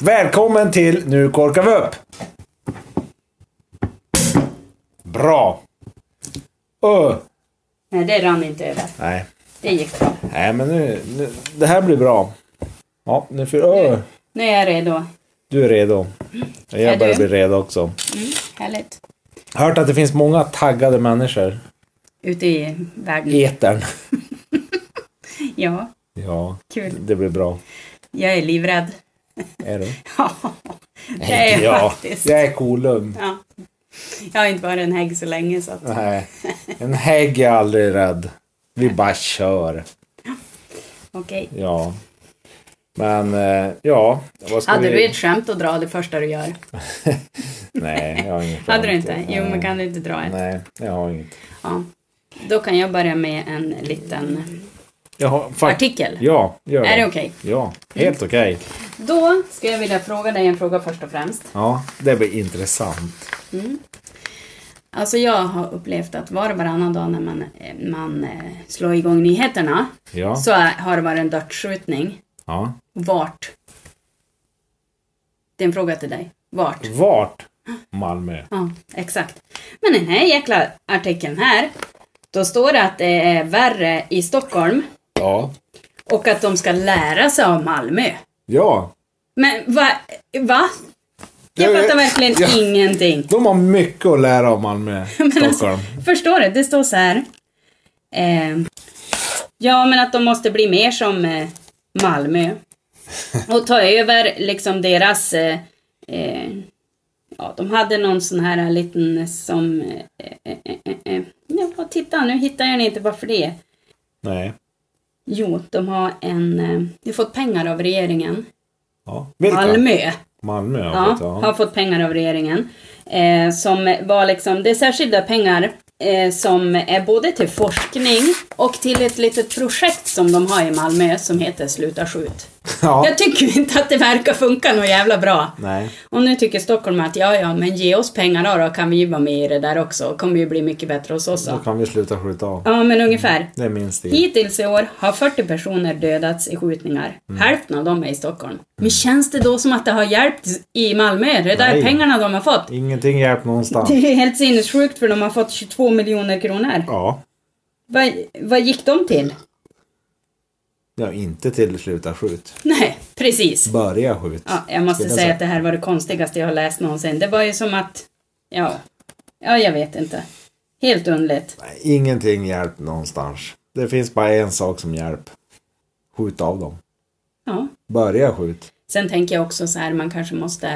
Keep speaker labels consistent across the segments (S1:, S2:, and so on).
S1: Välkommen till Nu korkar vi upp! Bra! Öh.
S2: Nej, det rann inte över.
S1: Nej.
S2: Det gick bra.
S1: Nej, men nu, nu... Det här blir bra. Ja, nu för... Öh.
S2: Nu är jag redo.
S1: Du är redo.
S2: Är
S1: Jag börjar
S2: du?
S1: bli redo också.
S2: Härligt.
S1: Hört att det finns många taggade människor
S2: Ute i världen.
S1: i etern.
S2: Ja,
S1: Ja,
S2: kul.
S1: det blir bra.
S2: Jag är livrädd.
S1: Är du?
S2: Ja, det är jag
S1: ja,
S2: faktiskt.
S1: jag är kolugn.
S2: Ja. Jag har inte varit en hägg så länge så att...
S1: Nej, en hägg är aldrig rädd. Vi bara kör.
S2: Okej.
S1: Ja. Men eh, ja, vad ska
S2: Hade
S1: vi...
S2: du ett skämt att dra det första du gör?
S1: Nej, jag har inget
S2: Hade du
S1: skämt.
S2: inte? Jo, men kan du inte dra ett?
S1: Nej, jag har inget.
S2: Ja. Då kan jag börja med en liten
S1: Jag har, fakt...
S2: artikel.
S1: Ja, gör det.
S2: Är det okej?
S1: Ja, helt okej.
S2: Då skulle jag vilja fråga dig en fråga först och främst.
S1: Ja, det blir intressant.
S2: Alltså jag har upplevt att var och varannan dag när man, eh, man eh, slår igång nyheterna
S1: Ja,
S2: så är- har det varit en dödsskjutning.
S1: ja.
S2: Vart? Det är en fråga till dig. Vart?
S1: Mm. Vart? Malmö.
S2: Ja, exakt. Men den här jäkla artikeln här, då står det att det är värre i Stockholm
S1: Ja.
S2: och att de ska lära sig av Malmö.
S1: Ja.
S2: Men va? va? Jag
S1: Ja,
S2: fattar
S1: ja.
S2: verkligen
S1: Ja.
S2: ingenting.
S1: De har mycket att lära av Malmö,
S2: Men
S1: Stockholm.
S2: Alltså, förstår du? Det står så här. Eh, ja, men att de måste bli mer som eh, Malmö. Och ta över liksom deras... Eh, eh, ja, de hade någon sån här liten som... Eh, eh, eh, eh, eh. Ja, titta, nu hittar jag den inte. Varför det?
S1: Nej.
S2: Jo, de har en... Eh, de har fått pengar av regeringen.
S1: Ja. Vilka?
S2: Malmö.
S1: Malmö har
S2: Ja,
S1: fått,
S2: har
S1: ja.
S2: fått pengar av regeringen. Eh, som var liksom, det är särskilda pengar eh, som är både till forskning och till ett litet projekt som de har i Malmö som heter Sluta skjut.
S1: ja.
S2: Jag tycker inte att det verkar funka något jävla bra.
S1: Nej.
S2: Och nu tycker Stockholm att ja, ja, men ge oss pengar då, då kan vi ju vara med i det där också. kommer ju bli mycket bättre hos oss.
S1: Då
S2: då.
S1: kan vi sluta skjuta av.
S2: Ja, men ungefär.
S1: Det är min stil.
S2: Hittills i år har 40 personer dödats i skjutningar.
S1: Mm.
S2: Hälften av dem är i Stockholm. Men känns det då som att det har hjälpt i Malmö? Det där
S1: Nej.
S2: pengarna de har fått.
S1: Ingenting hjälpt någonstans.
S2: Det är ju helt sinnessjukt för de har fått 22 miljoner kronor.
S1: Ja.
S2: Vad, vad gick de till?
S1: Ja, inte till sluta skjut.
S2: Nej, precis.
S1: Börja skjut.
S2: Ja, jag måste
S1: Skulle jag
S2: säga
S1: säga.
S2: att det här var det konstigaste jag har läst någonsin. Det var ju som att... Ja, ja jag vet inte. Helt underligt.
S1: Nej, Ingenting hjälp någonstans. Det finns bara en sak som hjälp. Skjut av dem.
S2: Ja.
S1: Börja skjut.
S2: Sen tänker jag också så här, man kanske måste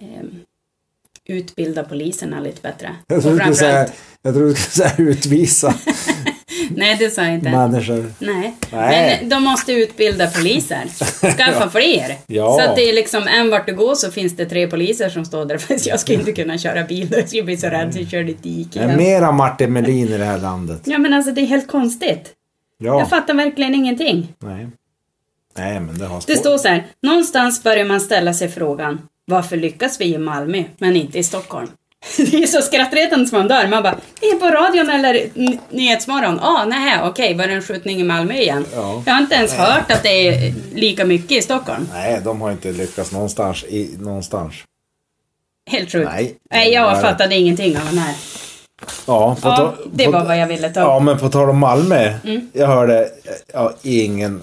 S2: ehm, utbilda poliserna lite bättre.
S1: Jag
S2: Och
S1: tror du skulle säga,
S2: framförallt...
S1: jag tror du skulle säga utvisa
S2: Nej, det sa jag inte.
S1: människor.
S2: Nej.
S1: Nej.
S2: men de måste utbilda poliser. Skaffa fler.
S1: Ja.
S2: Så att det är liksom, en vart du går så finns det tre poliser som står där. För jag skulle inte kunna köra bil, jag skulle bli så rädd så jag körde i ett dike.
S1: Det är mera Martin Melin i det här landet.
S2: Ja men alltså det är helt konstigt.
S1: Ja.
S2: Jag fattar verkligen ingenting.
S1: Nej. Nej, men det har spår.
S2: Det står så här, någonstans börjar man ställa sig frågan, varför lyckas vi i Malmö men inte i Stockholm? Det är ju så skrattretande som man dör. Man bara, det är på radion eller n- Nyhetsmorgon. Ah, nej, okej, var det en skjutning i Malmö igen?
S1: Ja.
S2: Jag har inte ens hört att det är lika mycket i Stockholm.
S1: Nej, de har inte lyckats någonstans. I, någonstans.
S2: Helt sjukt.
S1: Nej.
S2: Nej, jag
S1: Nej.
S2: fattade ingenting av den här.
S1: Ja, på
S2: Ja,
S1: ta-
S2: det
S1: på-
S2: var vad jag ville ta upp. Mm.
S1: Ja, men på tal om Malmö. Jag hörde, jag har ingen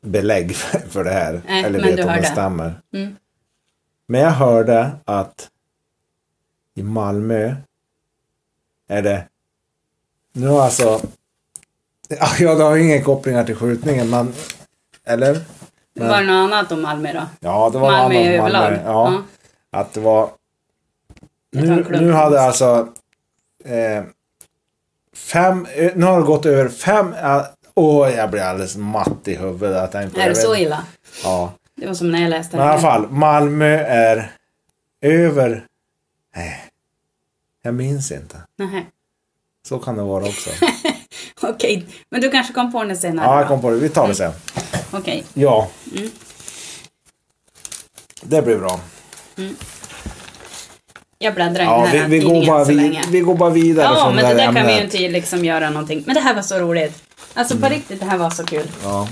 S1: belägg för för det här.
S2: Nej,
S1: eller
S2: men
S1: vet
S2: du
S1: om det
S2: hörde.
S1: stämmer.
S2: Mm.
S1: Men jag hörde att i Malmö är det, nu har alltså, ja det har inga kopplingar till skjutningen men, eller?
S2: Var det något annat om Malmö då?
S1: Ja, det var
S2: Malmö
S1: någon annan
S2: överlag.
S1: Malmö. Ja,
S2: Ja.
S1: Att det var...
S2: Jag tar en
S1: Nu,
S2: klunk.
S1: nu hade alltså... Eh, fem... eh, Nu har det gått över fem... eh, Åh, jag blir alldeles matt i huvudet. Jag tänkte,
S2: Är
S1: jag
S2: det
S1: vet-
S2: så illa?
S1: Ja.
S2: Det var som när jag läste
S1: Men i alla
S2: det.
S1: fall, Malmö är över... Nej. Jag minns inte.
S2: Nej.
S1: Så kan det vara också.
S2: Okej, men du kanske kom på det senare?
S1: Ja, jag
S2: då?
S1: kom på det. Vi tar det sen.
S2: Okej.
S1: Ja.
S2: Mm.
S1: Det blir bra.
S2: Jag bläddrar i
S1: Ja,
S2: den här
S1: vi, vi, går
S2: tidningen
S1: bara
S2: så
S1: vid,
S2: länge.
S1: vi går bara vidare
S2: Ja,
S1: från
S2: men det där kan vi ju
S1: ämnet.
S2: Mm. inte liksom göra någonting. Men det här var så roligt. Alltså på riktigt, det här var så kul.
S1: Ja.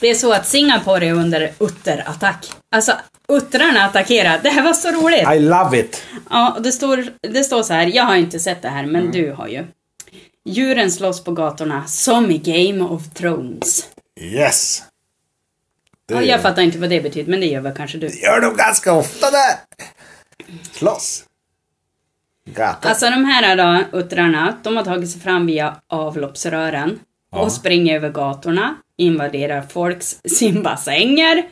S2: Det är så att Singapore är under utterattack. Alltså, uttrarna attackerar. Det här var så roligt!
S1: I love it!
S2: Ja, och det står, det står så här, jag har inte sett det här, men du har ju. Djuren slåss på gatorna som i Game of Thrones.
S1: Yes! Det
S2: Ja, jag fattar inte vad det betyder, men det gör väl kanske du.
S1: gör de ganska ofta där. Slåss. Gata.
S2: Alltså de här då, uttrarna, de har tagit sig fram via avloppsrören och springer över gatorna, invaderar folks simbassänger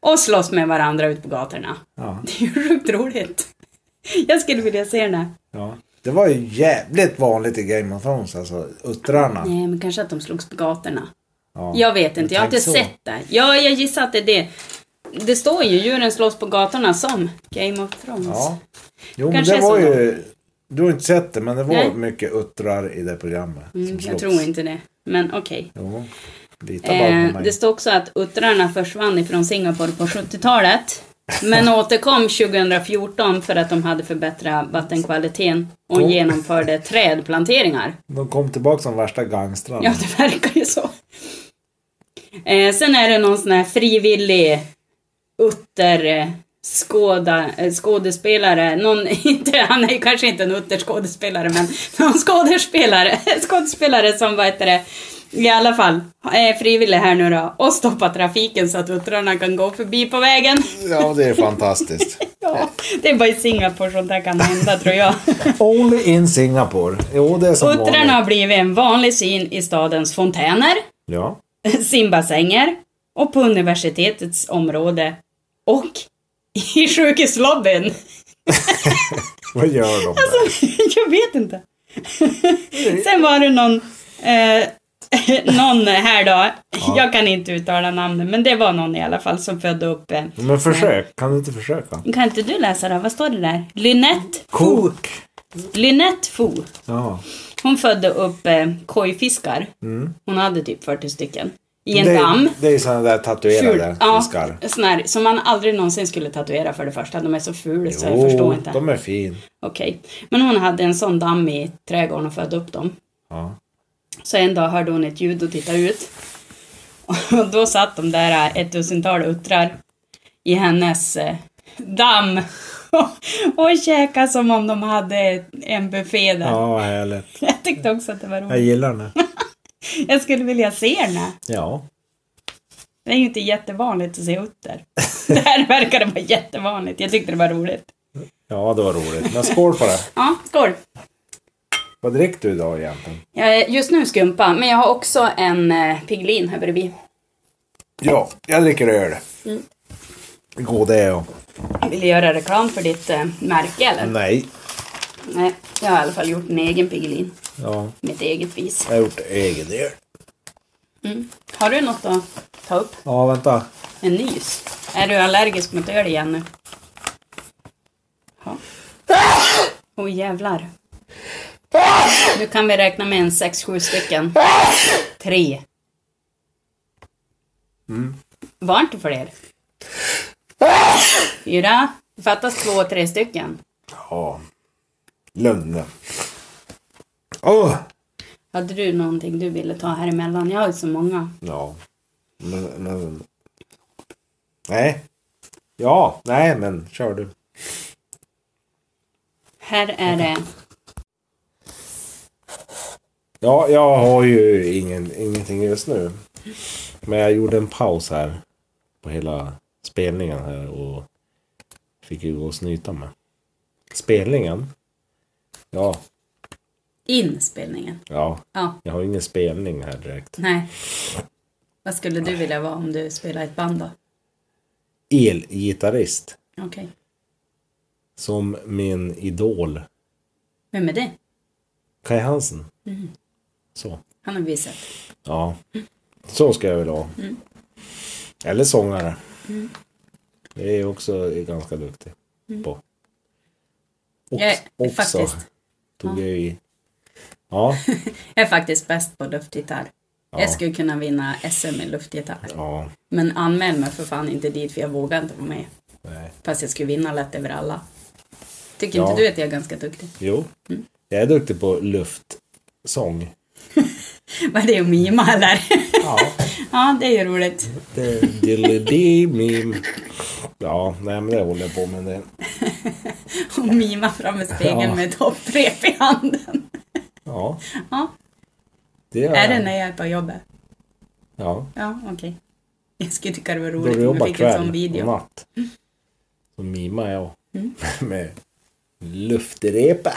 S2: och slåss med varandra ut på gatorna.
S1: Ja.
S2: Det är ju sjukt roligt. Jag skulle vilja se den här.
S1: Ja. Det var ju jävligt vanligt i Game of Thrones, alltså uttrarna.
S2: Nej, men kanske att de slogs på gatorna.
S1: Ja.
S2: Mm. Jag vet inte, jag har
S1: tänk
S2: inte
S1: så.
S2: sett det. Ja, jag gissar att det är det. Det står ju djuren slåss på gatorna som Game of Thrones.
S1: Ja. Jo, men
S2: Kanske
S1: det
S2: är
S1: var
S2: så
S1: ju... Du har inte sett det, men det var
S2: Nej.
S1: mycket uttrar i det programmet.
S2: Mm, jag
S1: slogs.
S2: tror inte det, men okej.
S1: Jo. Lita bara på
S2: Eh,
S1: mig.
S2: det står också att uttrarna försvann ifrån Singapore på 70-talet. Men återkom 2014 för att de hade förbättrat vattenkvaliteten och
S1: Oh.
S2: genomförde trädplanteringar.
S1: De kom tillbaka som värsta gangstrarna.
S2: Ja, det verkar ju så. Eh, sen är det någon sån här frivillig utter... eh, Skåda, eh, skådespelare, någon, inte, han är ju kanske inte en utterskådespelare men någon skådespelare, skådespelare som vad heter det, i alla fall är frivillig här nu då och stoppa trafiken så att uttrarna kan gå förbi på vägen.
S1: Ja, det är fantastiskt.
S2: Ja, det är bara i Singapore sånt där kan hända tror jag.
S1: Only in Singapore. Jo, det är som
S2: Uttrarna
S1: vanligt.
S2: har blivit en vanlig syn i stadens fontäner.
S1: Ja.
S2: simbassänger och på universitetets område och i sjukhuslobbyn.
S1: Vad gör de? där?
S2: Jag vet inte. Sen var det någon, eh, någon här då, jag kan inte uttala namnet, men det var någon i alla fall som födde upp en.
S1: Men försök. Kan du inte försöka?
S2: Kan inte du läsa då? Vad står det där? Lynette Fo.
S1: Kok.
S2: Lynette Fo.
S1: Ja.
S2: Hon födde upp eh, kojfiskar. Hon hade typ 40 stycken. I en
S1: Mm. det,
S2: damm.
S1: Det är sådana där tatuerade
S2: Ful. Ja,
S1: fiskar.
S2: sån här, som man aldrig någonsin skulle tatuera för det första. De är så fula så jag förstår inte.
S1: de är fin.
S2: Okej. Men hon hade en sån damm i trädgården och födde upp dem.
S1: Ja.
S2: Så en dag hörde hon ett ljud och tittade ut. Och då satt de där eh, ett dussintal uttrar i hennes eh, damm. och käkade som om de hade en buffé där.
S1: Ja, vad härligt.
S2: Jag tyckte också att det var
S1: Jag
S2: roligt.
S1: gillar den. här.
S2: Jag skulle vilja se den här.
S1: Ja.
S2: Det är ju inte jättevanligt att se utter. Det här verkar vara jättevanligt. Jag tyckte det var roligt.
S1: Ja, det var roligt. Men skål på det.
S2: Ja, skål.
S1: Vad dricker du idag egentligen?
S2: Jag är just nu skumpa, men jag har också en eh, piglin här bredvid.
S1: Ja, jag dricker öl. Mm. God är jag.
S2: Vill du göra reklam för ditt eh, märke eller?
S1: Nej.
S2: Nej, jag har i alla fall gjort en egen piglin.
S1: Ja,
S2: Mitt eget vis.
S1: jag har gjort egen öl.
S2: Har du något att ta upp?
S1: Ja, vänta.
S2: En nys? Är du allergisk mot öl igen nu? Ja. Åh jävlar. Nu kan vi räkna med en sex, sju stycken. Tre. Var inte fler. Fyra. Det fattas två, tre stycken.
S1: Ja. Lugn. Åh!
S2: Hade du någonting du ville ta här emellan? Jag har ju så många.
S1: Ja. Men, men... Nej. Ja, nej men kör du.
S2: Här är det...
S1: Ja, jag har ju ingen, ingenting just nu. Men jag gjorde en paus här på hela spelningen här och fick ju gå och snyta med. Spelningen? Ja,
S2: Inspelningen.
S1: ja.
S2: Ja.
S1: Jag har ingen spelning här direkt.
S2: Nej. Vad skulle du vilja vara om du spelade i ett band då?
S1: Elgitarrist.
S2: Okej.
S1: Som min idol
S2: Vem är det?
S1: Kai Hansen. Så.
S2: Han har vi sett.
S1: Ja. Så ska jag väl ha.
S2: Mm.
S1: Eller sångare. Det är också ganska duktig på. Ox,
S2: Mm. Jag är
S1: också.
S2: faktiskt-
S1: Tog jag i. Ja.
S2: Jag är faktiskt bäst på luftgitarr. Jag skulle kunna vinna SM i luftgitarr.
S1: ja.
S2: Men anmäl mig för fan inte dit för jag vågar inte vara med.
S1: Nej.
S2: Fast jag skulle vinna lätt över alla. Tycker
S1: Ja.
S2: inte du att jag är ganska duktig?
S1: Jo.
S2: Mm.
S1: Jag är duktig på luftsång.
S2: Vad är det att mima eller?
S1: Ja.
S2: Ja, det är ju roligt.
S1: Diddelidim. Ja, nej men det håller jag på med. Det.
S2: Och mima fram i spegeln
S1: Ja.
S2: med ett hopprep i handen.
S1: Ja,
S2: Ja,
S1: det gör
S2: är det
S1: jag.
S2: när jag är på jobbet?
S1: Ja,
S2: Ja, okej. Jag skulle tycka det var
S1: då
S2: roligt
S1: du
S2: om vi
S1: jobbar
S2: fick en sån
S1: kväll och
S2: video. Mm.
S1: natt. Så mimar jag med luftrepa.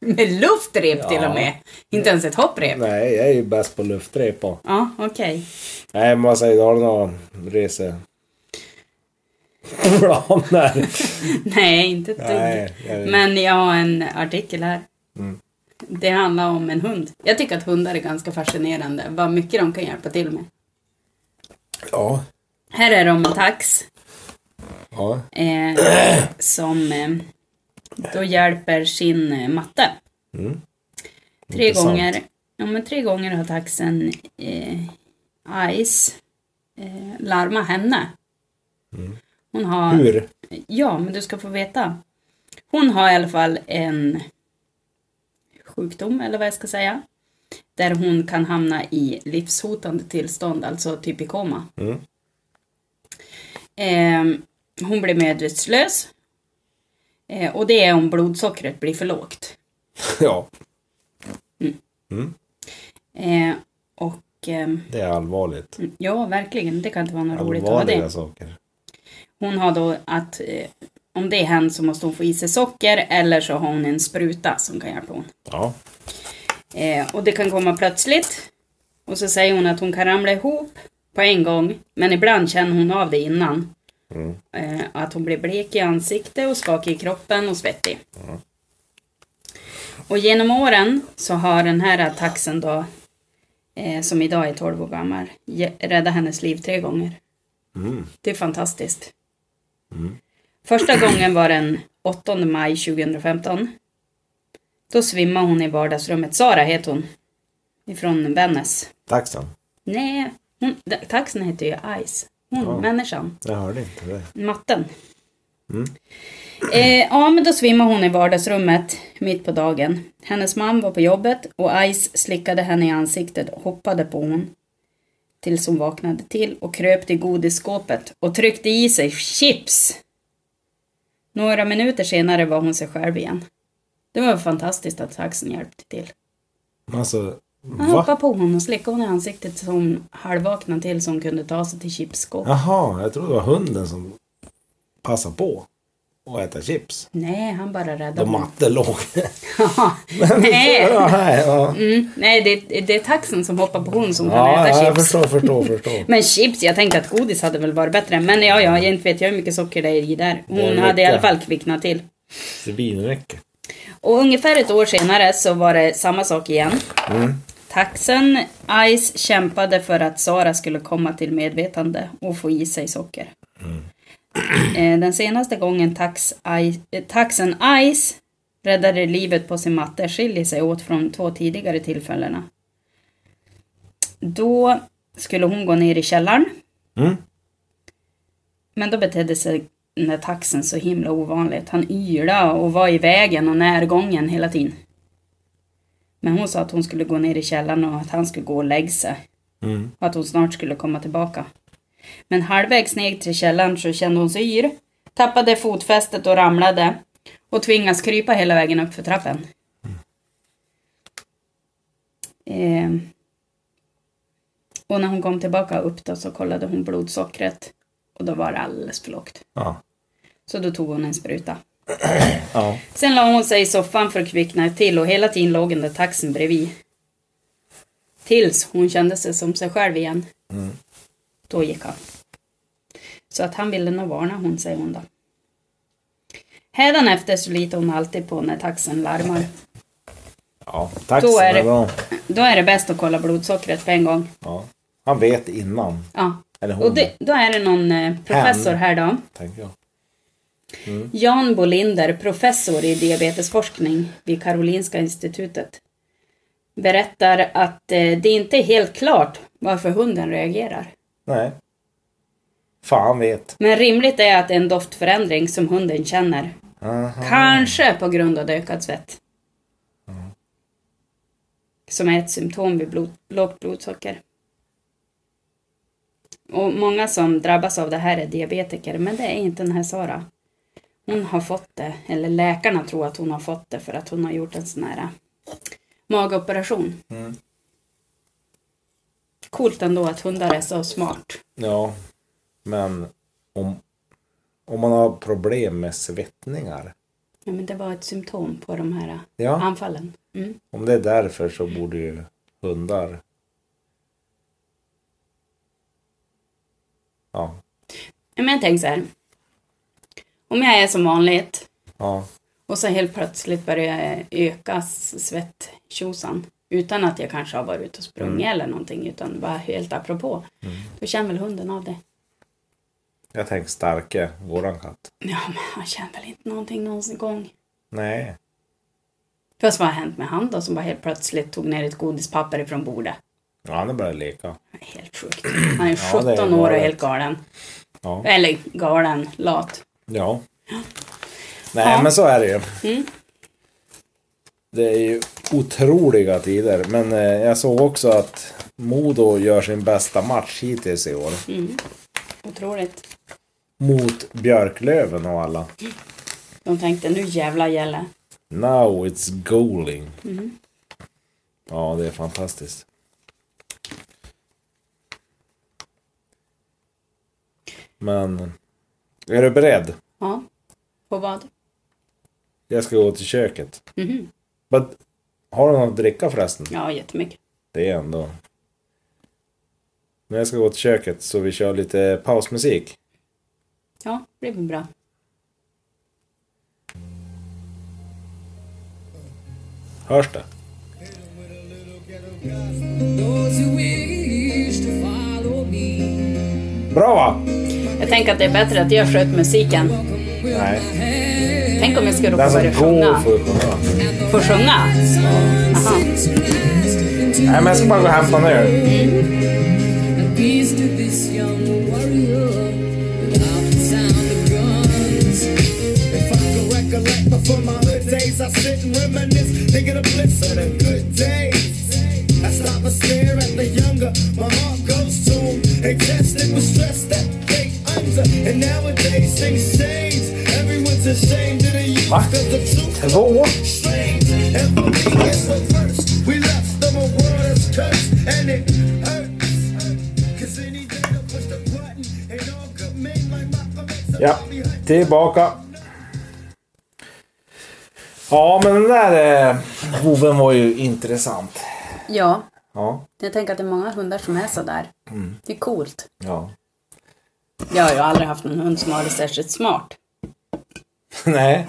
S2: Med luftrep till
S1: Ja.
S2: och med. Inte ens ett hopprep.
S1: Nej, jag är ju bäst på luftrepa.
S2: Ja, okej.
S1: Nej, men vad säger du? Har du några reseplaner?
S2: Nej, inte ett dugg.
S1: Nej, Mm. jag vet inte.
S2: Men jag har en artikel här. Det handlar om en hund. Jag tycker att hundar är ganska fascinerande. Vad mycket de kan hjälpa till med.
S1: Ja.
S2: Här är det om en tax.
S1: Ja.
S2: Eh, som eh, då hjälper sin eh, matte.
S1: Mm.
S2: Tre
S1: Intressant.
S2: gånger, ja, men tre gånger har taxen eh, Ice eh, larmat henne.
S1: Mm.
S2: Hon har...
S1: Hur?
S2: Ja, men du ska få veta. Hon har i alla fall en sjukdom, eller vad jag ska säga, där hon kan hamna i livshotande tillstånd, alltså typ i koma.
S1: Mm.
S2: Ehm, hon blir medvetslös. Eh, och det är om blodsockret blir för lågt.
S1: Ja,
S2: Eh, och ehm,
S1: det är allvarligt.
S2: ja, verkligen, det kan inte vara något roligt att ha
S1: Allvarliga
S2: det.
S1: saker.
S2: Hon har då att eh, om det är hänt så måste hon få i sig socker eller så har hon en spruta som kan hjälpa hon.
S1: Ja.
S2: Eh, och det kan komma plötsligt. Och så säger hon att hon kan ramla ihop på en gång, men ibland känner hon av det innan.
S1: Mm.
S2: Eh, att hon blir blek i ansiktet och skakig i kroppen och svettig.
S1: Mm.
S2: Och genom åren så har den här taxen då, eh, som idag är 12 år gammal, ge- räddat hennes liv tre gånger.
S1: Mm.
S2: Det är fantastiskt. Första gången var den 8 maj 2015. Då svimmade hon i vardagsrummet. Sara heter hon. Ifrån Vännäs.
S1: Taxen.
S2: Nej, hon, d- taxen heter ju Ice. Hon, människan.
S1: Jag hörde inte det.
S2: Matten. Eh, ja, men då svimmade hon i vardagsrummet mitt på dagen. Hennes man var på jobbet och Ice slickade henne i ansiktet och hoppade på hon. Tills hon vaknade till och kröp till godisskåpet och tryckte i sig chips. Några minuter senare var hon sig själv igen. Det var fantastiskt att taxen hjälpte till.
S1: Men Alltså,
S2: Han hoppade
S1: va?
S2: på hon och slickade hon i ansiktet så hon halvvaknade till så hon kunde ta sig till chipsskåpet.
S1: Jaha, jag trodde det var hunden som passade på att äta chips.
S2: Nej, han bara räddade
S1: Då
S2: hon.
S1: matte låg.
S2: Nej.
S1: ja, nej, ja.
S2: Mm, nej, det, det är taxen som hoppar på hon som kan
S1: ja,
S2: äta
S1: ja, jag
S2: chips.
S1: förstår, förstår, förstår.
S2: Men chips, jag tänkte att godis hade väl varit bättre. Men ja, ja, jag inte vet jag hur mycket socker det är i där.
S1: Det är
S2: Hon
S1: mycket.
S2: hade i alla fall kvicknat till.
S1: Svinräcke.
S2: Och ungefär ett år senare så var det samma sak igen. Taxen Ice kämpade för att Sara skulle komma till medvetande och få i sig socker. Eh, Den senaste gången tax Ice, eh, taxen Ice räddade livet på sin matte skiljer sig åt från två tidigare tillfällena. Då skulle hon gå ner i källaren.
S1: Mm.
S2: Men då betedde sig den där taxen så himla ovanligt. Han ylade och var i vägen och närgången hela tiden. Men hon sa att hon skulle gå ner i källaren och att han skulle gå och lägga sig.
S1: Mm.
S2: Och att hon snart skulle komma tillbaka. Men halvvägs ner till källaren så kände hon sig yr, tappade fotfästet och ramlade och tvingas krypa hela vägen upp för trappen. Ehm. och när hon kom tillbaka upp då så kollade hon blodsockret och då var det alldeles för lågt.
S1: Ja.
S2: Så då tog hon en spruta.
S1: ja.
S2: Sen la hon sig i soffan för att kvickna till och hela tiden låg den där taxen bredvid. Tills hon kände sig som sig själv igen. Då gick han. Så att han ville nog varna hon, säger hon då. Hädanefter så litar hon alltid på när taxen larmar.
S1: Ja, taxen
S2: Då är
S1: är
S2: det-
S1: bra.
S2: Då är det bäst att kolla blodsockret på en gång.
S1: Ja. Han vet innan,
S2: Ja.
S1: Eller hon.
S2: Och det, då är det någon eh, professor här då.
S1: tänker jag.
S2: Jan Bolinder, professor i diabetesforskning vid Karolinska institutet, berättar att eh, det inte är helt klart varför hunden reagerar.
S1: Nej. Fan vet.
S2: Men rimligt är att det är en doftförändring som hunden känner.
S1: Aha.
S2: Kanske på grund av ökad svett. Som är ett symptom vid blod, lågt blodsocker. Och många som drabbas av det här är diabetiker, men det är inte den här Sara. Hon har fått det, eller läkarna tror att hon har fått det för att hon har gjort en sån här äh, magoperation.
S1: Mm.
S2: Coolt ändå att hundar är så smart.
S1: Ja, men om, om man har problem med svettningar.
S2: Ja, men det var ett symptom på de här äh,
S1: Ja,
S2: anfallen. Mm.
S1: om det är därför så borde ju hundar... Ja,
S2: Ja, Men jag tänker så här. Om jag är som vanligt
S1: ja,
S2: och så helt plötsligt börjar jag öka svetttjosan utan att jag kanske har varit ute och sprungit
S1: Mm.
S2: eller någonting utan bara helt apropå. Då känner väl hunden av det.
S1: jag tänker Starke, våran katt.
S2: Ja, men han känner väl inte någonting någon gång.
S1: Nej,
S2: Fast vad har hänt med han då som bara helt plötsligt tog ner ett godispapper ifrån bordet?
S1: ja, han är bara leka.
S2: Det är Helt sjukt. Han är
S1: Ja, det är
S2: 17 år och
S1: galet.
S2: helt galen.
S1: Ja,
S2: Eller galen, lat.
S1: ja. Nej, men så är det ju. Det är ju otroliga tider, men eh, jag såg också att Modo gör sin bästa match hittills i år.
S2: Otroligt.
S1: Mot Björklöven och alla.
S2: De tänkte nu jävla gäller.
S1: Now it's goaling. Ja, det är fantastiskt. Men, är du beredd?
S2: Ja. På vad?
S1: Jag ska gå till köket. But, har du något att dricka förresten?
S2: Ja, jättemycket.
S1: Det är ändå... Men jag ska gå till köket så vi kör lite pausmusik.
S2: Ja, det blir bra.
S1: Hörs det?
S3: Those who wish to follow me,
S1: Bra va?
S2: Jag tänker att det är bättre att jag sköter musiken.
S1: Nej.
S2: Tänk om jag skulle
S1: Den
S2: råka
S1: som
S2: börja
S1: går
S2: sjunga.
S1: får sjunga.
S2: Få sjunga? Aha.
S1: Nej, men jag ska bara gå och hämta en öl.
S3: and peace to this young warrior. Without the sound of guns,
S4: If I could recollect before my hood days, I sit and reminisce, thinking of bliss of the good days. I stop and stare at the younger, my heart goes to 'em. They tested with stress that they under, and nowadays things change. Everyone's ashamed of the youth,
S1: Va?
S4: 'cause the truth
S1: Två?
S4: strange. And for me, it's the first. We left them a world that's cursed, and it hurts. Cause any day they'll push the button, and all good men like Malcolm X will
S1: Ja,
S4: be hunted.
S1: tillbaka. Ja, men den där eh, boven var ju intressant.
S2: Ja,
S1: Ja.
S2: jag tänker att det är många hundar som är sådär.
S1: Mm.
S2: Det är coolt.
S1: ja.
S2: Jag har ju aldrig haft någon hund som har varit särskilt smart.
S1: Nej.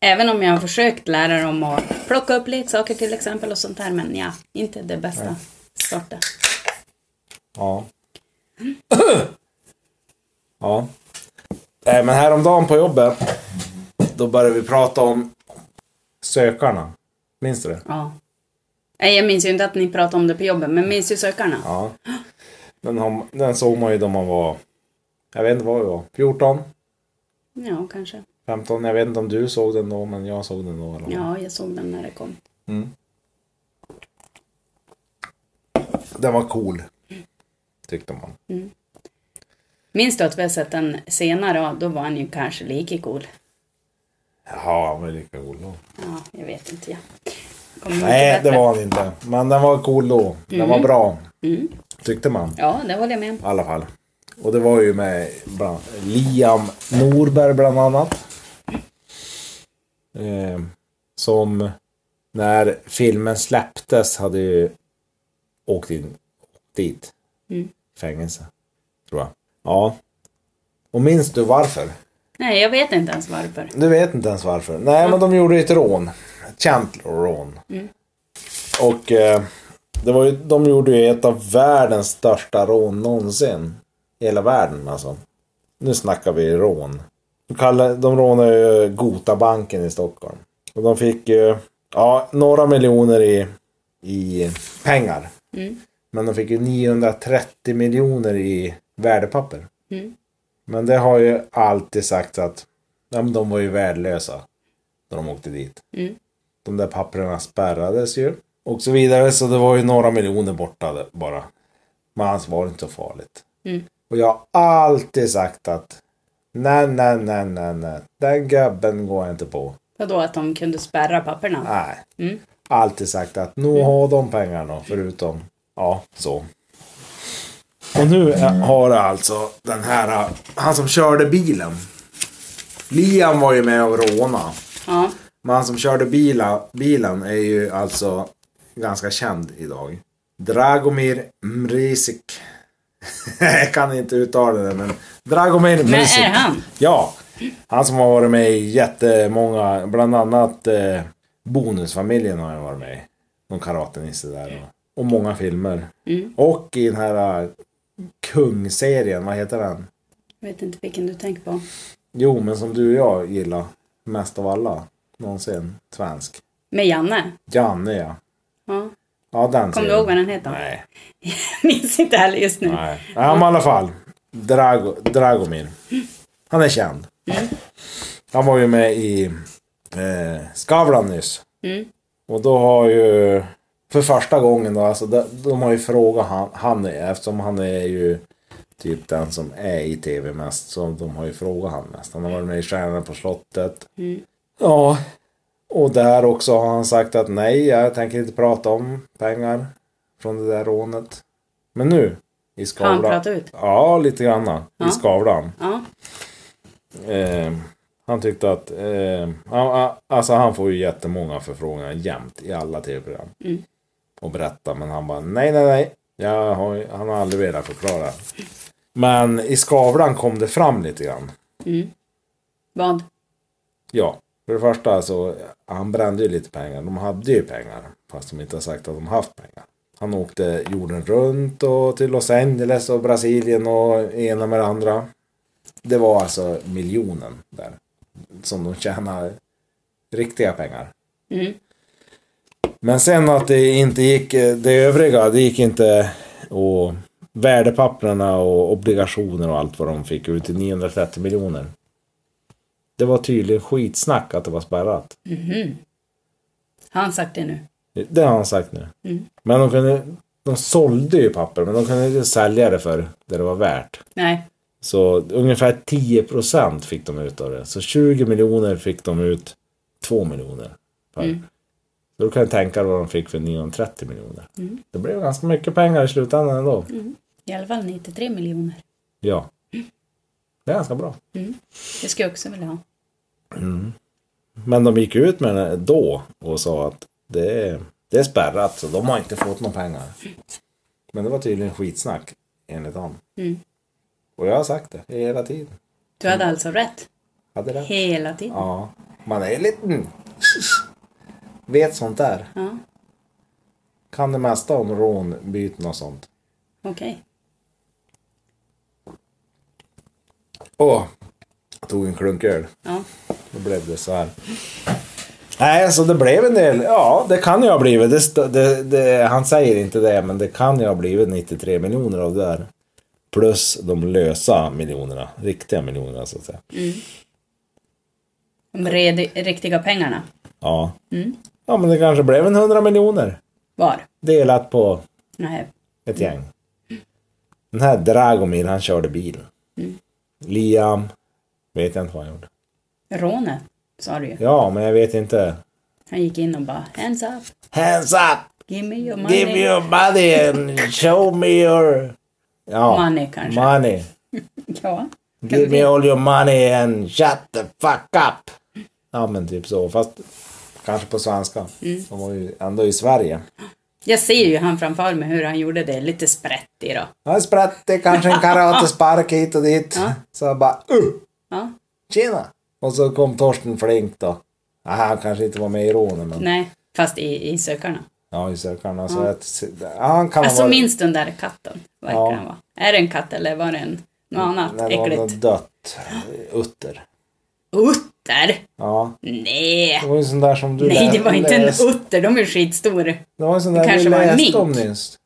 S2: Även om jag har försökt lära dem att plocka upp leksaker till exempel och sånt där. Men ja, inte det bästa sorten.
S1: Ja. ja. Nej, men häromdagen på jobbet, då började vi prata om sökarna. Minns du det?
S2: Ja. Nej, jag minns ju inte att ni pratade om det på jobbet, men minns ju sökarna.
S1: Ja. Den, har, den såg man ju då man var, jag vet inte vad vi var, 14,
S2: Ja, kanske.
S1: 15. Jag vet inte om du såg den då, men jag såg den då. Eller?
S2: Ja, jag såg den när det kom.
S1: Den var cool, tyckte man.
S2: Minns du att vi har sett den senare? och Då var han ju kanske lika cool.
S1: Ja, han var lika cool då.
S2: Ja, jag vet inte. Ja. Kommer
S1: Nej,
S2: inte
S1: det
S2: bättre.
S1: var han inte. Men den var cool då. Den var bra. Tyckte man i
S2: Ja, det håller jag med om.
S1: alla fall. Och det var ju med bland, Liam Norberg bland annat. Eh, som när filmen släpptes hade ju åkt in dit. Fängelse. Tror jag. Ja. Och minns du varför?
S2: Nej, jag vet inte ens varför.
S1: Du vet inte ens varför. Nej, men de gjorde ett rån. Ett Chandler-rån. Och eh, det var ju, de gjorde ju ett av världens största rån någonsin. I hela världen alltså. Nu snackar vi rån. De, kallar, de rånade ju Gotabanken i Stockholm. Och de fick ju ja, några miljoner i, i pengar. Men de fick ju 930 miljoner i värdepapper. Men det har ju alltid sagt att ja, men de var ju värdelösa när de åkte dit. De där papperna spärrades ju och så vidare. Så det var ju några miljoner borta där bara. Men alltså var det inte så farligt. Och jag har alltid sagt att nej, nej, nej, nej, nej. Den gubben går jag inte på.
S2: Vadå att de kunde spärra papperna?
S1: Nej.
S2: Mm.
S1: Alltid sagt att nu har de pengarna förutom, ja, så. Och nu
S2: Mm.
S1: är- har det alltså den här, han som körde bilen. Liam var ju med och råna.
S2: Ja.
S1: Men han som körde bilen, bilen är ju alltså ganska känd idag. Dragomir Mrisic. Jag kan inte uttala det men Dragomir Mrisic.
S2: är han?
S1: Ja. Han som har varit med i jättemånga, bland annat eh, Bonusfamiljen har han varit med i. Någon karatenisse där. Och, och många filmer.
S2: Mm.
S1: Och i den här eh, Kung-serien, vad heter den?
S2: Jag vet inte vilken du tänker på.
S1: Jo, men som du och jag gillar mest av alla någonsin. Svensk.
S2: Med Janne?
S1: Janne ja.
S2: Ja.
S1: Ja, den
S2: Kommer
S1: ser
S2: du
S1: jag.
S2: ihåg vad den heter?
S1: Nej.
S2: Minns inte heller just nu.
S1: Nej. Ja, men i alla fall. Drago, Dragomir. Han är känd. Han var ju med i eh, Skavlan nyss. Och då har ju... För första gången då, alltså de, de har ju frågat han, han är, eftersom han är ju typ den som är i tv mest. Så de har ju frågat han mest. Han har varit med i Stjärnorna på slottet.
S2: Mm.
S1: Ja. Och där också har han sagt att nej, jag tänker inte prata om pengar från det där rånet. Men nu, i
S2: Har han
S1: Skavlan.
S2: pratat ut?
S1: Ja, lite grann. I Skavlan.
S2: Ja.
S1: Eh, han tyckte att, eh, han- han, alltså han får ju jättemånga förfrågningar jämt i alla tv-program. Och berätta, men han bara nej, nej, nej. Jag har, ju- han har aldrig velat förklara. Men i Skavlan kom det fram lite grann.
S2: Vad?
S1: Ja, för det första så han brände ju lite pengar. De hade ju pengar fast de inte har sagt att de haft pengar. Han åkte jorden runt och till Los Angeles och Brasilien och ena med det andra. Det var alltså miljonen där som de tjänar riktiga pengar.
S2: Mm.
S1: Men sen att det inte gick, det övriga, det gick inte och värdepapperna och obligationer och allt vad de fick ut i 930 miljoner. Det var tydligen skitsnack att det var spärrat.
S2: Har han sagt det nu?
S1: Det har han sagt nu. Men de kunde, de sålde ju papper men de kunde inte sälja det för det det var värt.
S2: Nej.
S1: Så ungefär 10 procent fick de ut av det. Så 20 miljoner fick de ut 2 miljoner. Per. Så då kan jag tänka dig vad de fick för 930 miljoner. Det blev ganska mycket pengar i slutändan ändå.
S2: I alla fall 93 miljoner.
S1: Ja. Det är ganska bra.
S2: Det ska jag också vilja ha.
S1: Men de gick ut med det då och sa att det är, det är spärrat så de har inte fått några pengar. Men det var tydligen skitsnack enligt han. Och jag har sagt det hela tiden.
S2: Du hade alltså rätt.
S1: Hade rätt.
S2: Hela tiden.
S1: Mm. Ja, man är liten. Vet sånt där.
S2: Ja.
S1: Kan det mesta om rån, byten och sånt.
S2: Okej.
S1: Åh, jag tog en klunk öl.
S2: Ja.
S1: Då blev det så här. Nej, så det blev en del. Ja, det kan jag ha blivit. Det, st- det, det, han säger inte det, men det kan jag ha blivit 93 miljoner av det där. Plus de lösa miljonerna, riktiga miljonerna så att säga.
S2: De red- riktiga pengarna.
S1: Ja. Ja, men det kanske blev en 100 miljoner.
S2: Var?
S1: Delat på
S2: Nej.
S1: ett gäng. Den här Dragomir, han körde bil. Liam, vet jag inte vad han gjorde.
S2: Rånet, sa du ju.
S1: Ja, men jag vet inte.
S2: Han gick in och bara hands up,
S1: Hands up!
S2: give me your money.
S1: Give me your money and show me your... Ja,
S2: Money kanske.
S1: money.
S2: Ja.
S1: Give me all your money and shut the fuck up! Ja, men typ så. Fast kanske på svenska.
S2: Mm.
S1: De var ju ändå i Sverige.
S2: Jag ser ju han framför mig hur han gjorde det, lite sprättig då.
S1: Han sprätte kanske en karatespark hit och dit. Så jag bara uh!
S2: Ja.
S1: Tjena! Och så kom Torsten Flink då. Ah, han kanske inte var med i rånen men...
S2: Nej, fast i, i sökarna.
S1: Ja, i sökarna. Så att, ja, han kan ha
S2: Alltså
S1: varit-
S2: minns den där katten, verkar
S1: Ja. Mm,
S2: han vara. Är det en katt eller var det en, något annat
S1: Nej, det var
S2: äckligt?
S1: något dött. eh, Utter.
S2: Utter!
S1: Ja.
S2: Nej!
S1: Det var ju sån där som du
S2: Nej,
S1: lä-
S2: det var inte en
S1: läste-
S2: utter, de är skitstora.
S1: Det var ju sån
S2: Det
S1: där du
S2: kanske var en mink.
S1: läste om nyss.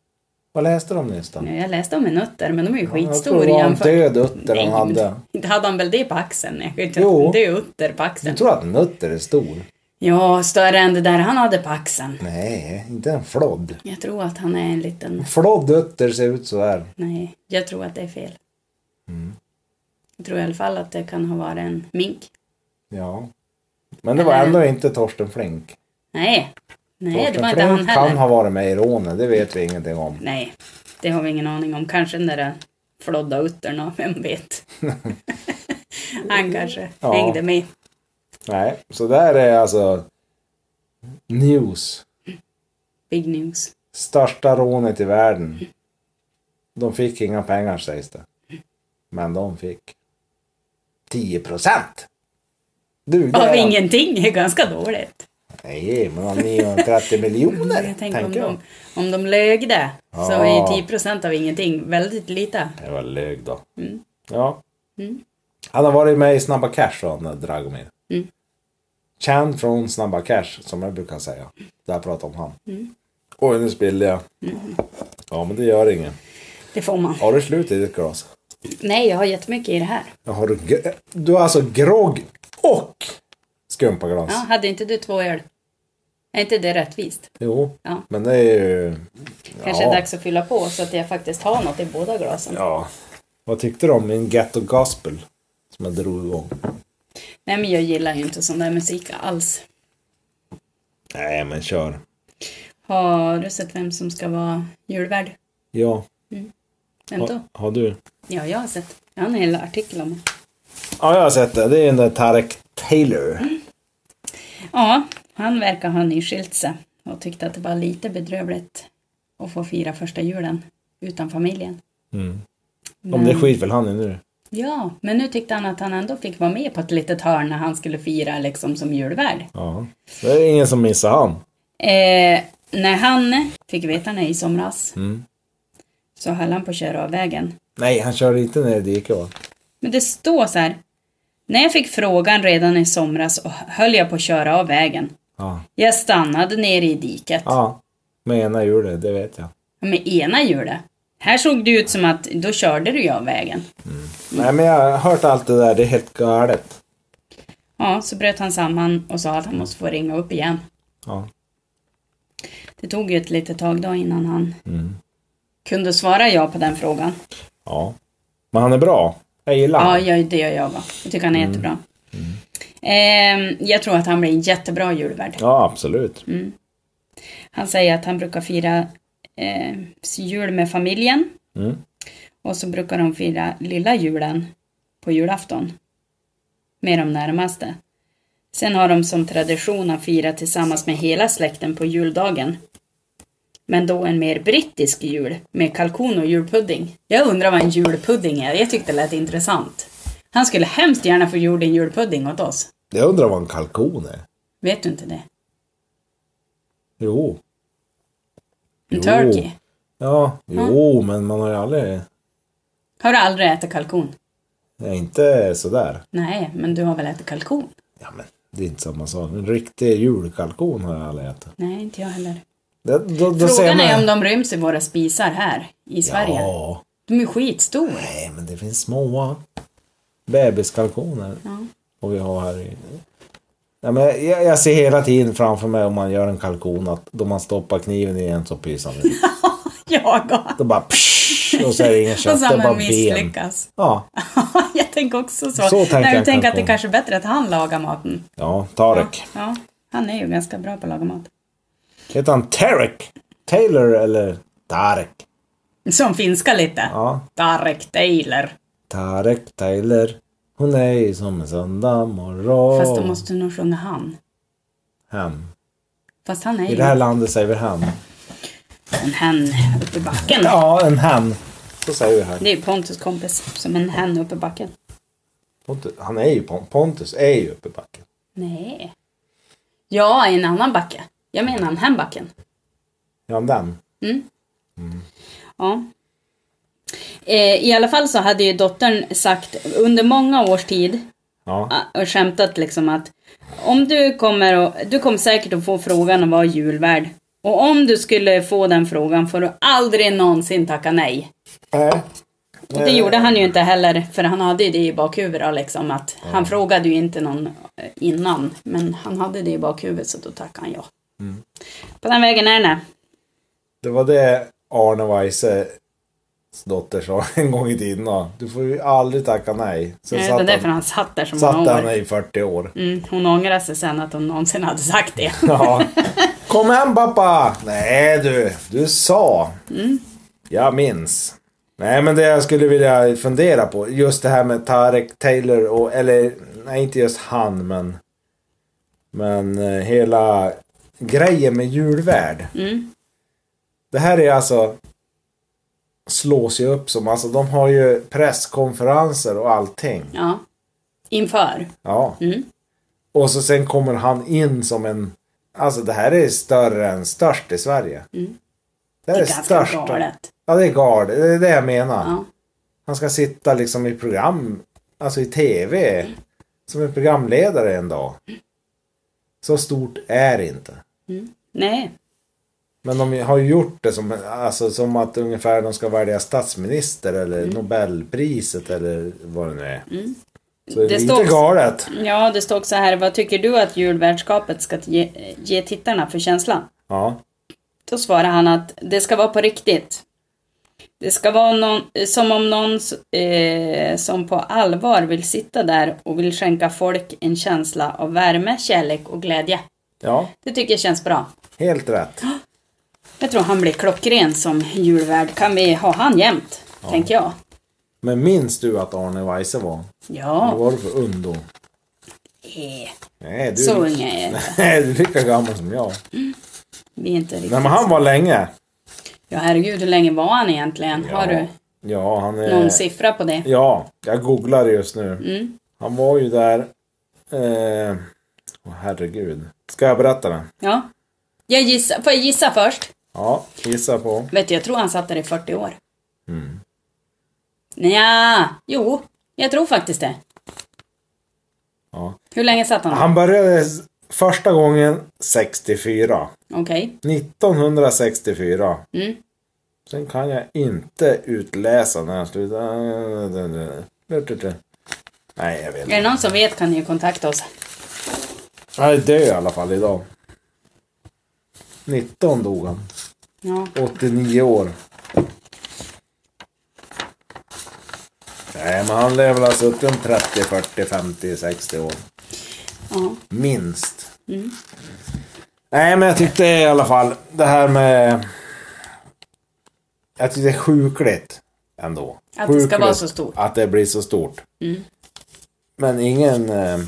S1: Vad läste du om nyss då?
S2: Nej, Jag läste om en utter, men de är ju
S1: jag tror
S2: skitstora
S1: det var en
S2: jämfört...
S1: död utter han
S2: Nej, men
S1: hade.
S2: Inte hade han väl det på axeln? Jag kan ju inte
S1: Jo.
S2: en död utter på axeln.
S1: Du tror att en utter är stor?
S2: Ja, större än det där han hade på axeln.
S1: Nej, inte en flodd.
S2: Jag tror att han är en liten...
S1: Flodd utter ser ut så här.
S2: Nej, jag tror att det är fel.
S1: Mm.
S2: Jag tror i alla fall att det kan ha varit en mink.
S1: Ja. Men det var
S2: Eller-
S1: ändå inte Torsten Flink.
S2: Nej, nej det
S1: Torsten
S2: var inte han
S1: Flink kan
S2: heller.
S1: ha varit med i rånen, det vet vi ingenting om.
S2: Nej, det har vi ingen aning om. Kanske den där flodda utterna, vem vet. han kanske
S1: Ja.
S2: hängde med.
S1: Nej, så där är alltså news.
S2: Big news.
S1: Största rånet i världen. De fick inga pengar sägs det. Men de fick 10 procent. Du, det
S2: Av
S1: är-
S2: ingenting är ganska dåligt.
S1: Nej, men av 930 miljoner.
S2: Jag tänker om,
S1: tänker jag.
S2: de, om de lög det så
S1: Ja.
S2: är 10 procent av ingenting väldigt lite.
S1: Det var lög då.
S2: Mm.
S1: Ja. Han har varit med i Snabba Cash, sa han Dragomir.
S2: Mm.
S1: Känd från Snabba Cash, som jag brukar säga. Där pratar om han.
S2: Mm.
S1: Oj, nu spillde jag. Ja, men det gör inget.
S2: Det får man.
S1: Har du slut i ditt glas?
S2: Nej, jag har jättemycket i det här.
S1: Ja, Har du, gr- du har alltså grogg och skumpaglas?
S2: Ja, hade inte du två öl? Är inte det rättvist?
S1: Jo,
S2: Ja.
S1: men det är ju...
S2: Kanske
S1: ja.
S2: är dags att fylla på så att jag faktiskt har något i båda glasen.
S1: Ja. Vad tyckte du om min Ghetto Gospel? Som jag drog igång.
S2: Nej, men jag gillar ju inte sån där musik alls.
S1: Nej, men kör.
S2: Har du sett vem som ska vara julvärd?
S1: Ja.
S2: Vem
S1: Har,
S2: då?
S1: har du?
S2: Ja, jag har sett. Jag har en hel artikel om det.
S1: Ja, jag har sett det. Det är den där Tarek Taylor.
S2: Mm, Ja, han verkar ha nyskilt sig och tyckte att det var lite bedrövligt att få fira första julen utan familjen.
S1: Om det skiter väl han i nu.
S2: Ja, men nu tyckte han att han ändå fick vara med på ett litet hörn när han skulle fira liksom som julvärd.
S1: Ja. Det är ingen som missar han.
S2: Eh, när han fick veta det i somras så höll han på att köra av vägen.
S1: Nej, han kör inte ner i diket va?
S2: Men det står så här. När jag fick frågan redan i somras och höll jag på att köra av vägen.
S1: Ja.
S2: Jag stannade nere i diket
S1: Ja. Med ena hjulet, det vet jag.
S2: med ena hjulet. Här såg det ut som att då körde du ju av vägen.
S1: Nej, men jag har hört allt det där. Det är helt galet.
S2: Ja, så bröt han samman och sa att han måste få ringa upp igen.
S1: Ja.
S2: Det tog ju ett litet tag då innan han kunde svara ja på den frågan.
S1: Ja. Men han är bra. Jag gillar
S2: Ja,
S1: han. Mm.
S2: jag, det gör jag va. Jag tycker han är jättebra. Ehm, jag tror att han blir en jättebra julvärd.
S1: Ja, absolut.
S2: Mm. Han säger att han brukar fira eh, jul med familjen.
S1: Mm.
S2: Och så brukar de fira lilla julen på julafton. Med de närmaste. Sen har de som tradition att fira tillsammans med hela släkten på juldagen. Men då en mer brittisk jul med kalkon och julpudding. Jag undrar vad en julpudding är. Jag tyckte det lät intressant. Han skulle hemskt gärna få gjort en julpudding åt oss.
S1: Jag undrar vad en kalkon är.
S2: Vet du inte det?
S1: Jo.
S2: En
S1: Jo.
S2: turkey. Mm.
S1: Ja. Jo, men man har ju aldrig...
S2: Har du aldrig ätit kalkon?
S1: Nej, inte sådär.
S2: Nej, men du har väl ätit kalkon?
S1: Ja, men det är inte samma sak. En riktig julkalkon har jag aldrig ätit.
S2: Nej, inte jag heller.
S1: Det, då, då ser
S2: Frågan
S1: man-
S2: är om de ryms i våra spisar här i Sverige.
S1: Ja.
S2: De är skitstora.
S1: Nej, men det finns små bebiskalkoner. Och vi har här i... Ja, men jag, jag ser hela tiden framför mig om man gör en kalkon att då man stoppar kniven i en så pyser den ut.
S2: Jag har.
S1: Då bara psh, och så är det inget
S2: Och
S1: kött,
S2: så
S1: det
S2: har
S1: är bara
S2: man
S1: ben.
S2: misslyckas.
S1: Ja,
S2: jag tänker också så.
S1: Så tänker
S2: Nej,
S1: jag
S2: jag tänker att det
S1: kalkon.
S2: kanske är bättre att han lagar maten.
S1: ja Tarek.
S2: Ja, han är ju ganska bra på att laga mat.
S1: Heter han Tarek? Taylor eller Tarek?
S2: Som finska lite.
S1: Ja,
S2: Tarek Taylor.
S1: Tarek Taylor. Hon är ju som en söndag morgon.
S2: Fast då måste du nog sjunga han.
S1: Hem.
S2: Fast han är
S1: I
S2: ju
S1: det här landet säger vi hem.
S2: en hen uppe i backen.
S1: Ja, en hem. Så säger vi här.
S2: Det är ju Pontus kompis som en hen uppe i backen.
S1: Pontus, han är ju Pon- Pontus är ju uppe i backen.
S2: Nej. Ja, i en annan backe. Jag menar en hembacken.
S1: Ja, men den.
S2: Ja. Eh, I alla fall så hade ju dottern sagt under många års tid
S1: Ja.
S2: ah, och skämtat liksom att om du kommer och, du kommer säkert att få frågan att vara julvärd. Och om du skulle få den frågan får du aldrig någonsin tacka nej.
S1: Nej.
S2: Och
S1: Eh.
S2: det gjorde han ju inte heller, för han hade ju det i bakhuvudet då, liksom att han frågade ju inte någon eh, innan, men han hade det i bakhuvudet så då tackade han ja. På den vägen är det.
S1: Det var det Arne Weise dotter sa en gång i tiden. Då, du får ju aldrig tacka nej. Sen
S2: Jag vet inte,
S1: satt
S2: det är för
S1: han,
S2: han satt där så
S1: satt
S2: många år.
S1: han i 40 år.
S2: Mm, hon ångrar sig sen att hon någonsin hade sagt det.
S1: Ja. Kom hem pappa! Nej du, du sa.
S2: Mm.
S1: Jag minns. Nej men det jag skulle vilja fundera på, just det här med Tarek Taylor och, eller nej inte just han men. Men eh, hela grejen med julvärd.
S2: Mm.
S1: Det här är alltså slås ju upp som, alltså de har ju presskonferenser och allting.
S2: Ja. Inför.
S1: Ja.
S2: Mm.
S1: Och så sen kommer han in som en... Alltså det här är större än störst i Sverige. Det, här
S2: Mm. Det
S1: är
S2: är ganska
S1: störst.
S2: galet.
S1: Ja, det är galet. Det är det jag menar.
S2: Ja.
S1: Han ska sitta liksom i program, alltså i tv, som en programledare en dag. Så stort är det inte.
S2: Nej.
S1: Men de har ju gjort det som, alltså, som att ungefär de ska välja statsminister eller
S2: Mm.
S1: Nobelpriset eller vad det nu är. Så det,
S2: Det
S1: är
S2: står
S1: lite
S2: också-
S1: galet.
S2: Ja, det står också här. Vad tycker du att julvärdskapet ska ge, ge tittarna för känsla?
S1: Ja.
S2: Då svarar han att det ska vara på riktigt. Det ska vara någon, som om någon eh, som på allvar vill sitta där och vill skänka folk en känsla av värme, kärlek och glädje.
S1: ja,
S2: Det tycker jag känns bra.
S1: helt rätt.
S2: Jag tror han blir klockren som julvärd. Kan vi ha han jämt? Tänker jag.
S1: Men minns du att Arne Weise var? Vad
S2: Ja.
S1: var du för ung då?
S2: Eh,
S1: Nej, du,
S2: Så unga är jag.
S1: Nej, du är lika gammal som jag.
S2: Vi är inte riktigt...
S1: Nej, men han var länge.
S2: Ja, herregud, hur länge var han egentligen? Har du
S1: Ja, han är...
S2: någon siffra på det?
S1: Ja, jag googlar just nu. Han var ju där... Eh... Åh, herregud. Ska jag berätta det?
S2: Ja. Jag gissar, får jag gissa först?
S1: Ja, gissa på.
S2: Vet du, jag tror han satt där i 40 år. Mm. Ja, jo, jag tror faktiskt det.
S1: Ja.
S2: Hur länge satt han?
S1: Han började s- första gången 64.
S2: Okej.
S1: 1964.
S2: Mm.
S1: Sen kan jag inte utläsa när han slutade. Nej, jag vet inte.
S2: Är det någon som vet kan ni ju kontakta oss.
S1: Han är död i alla fall idag. 19 dog han.
S2: Ja.
S1: 89 år. Nej, men han lär väl alltså ha suttit om 30, 40, 50, 60 år.
S2: ja.
S1: Minst. Nej, men jag tyckte i alla fall det här med... Jag tyckte det är sjukligt ändå.
S2: Att det ska
S1: Sjukligt
S2: vara så stort. Mm.
S1: Att det blir så stort. Men ingen eh,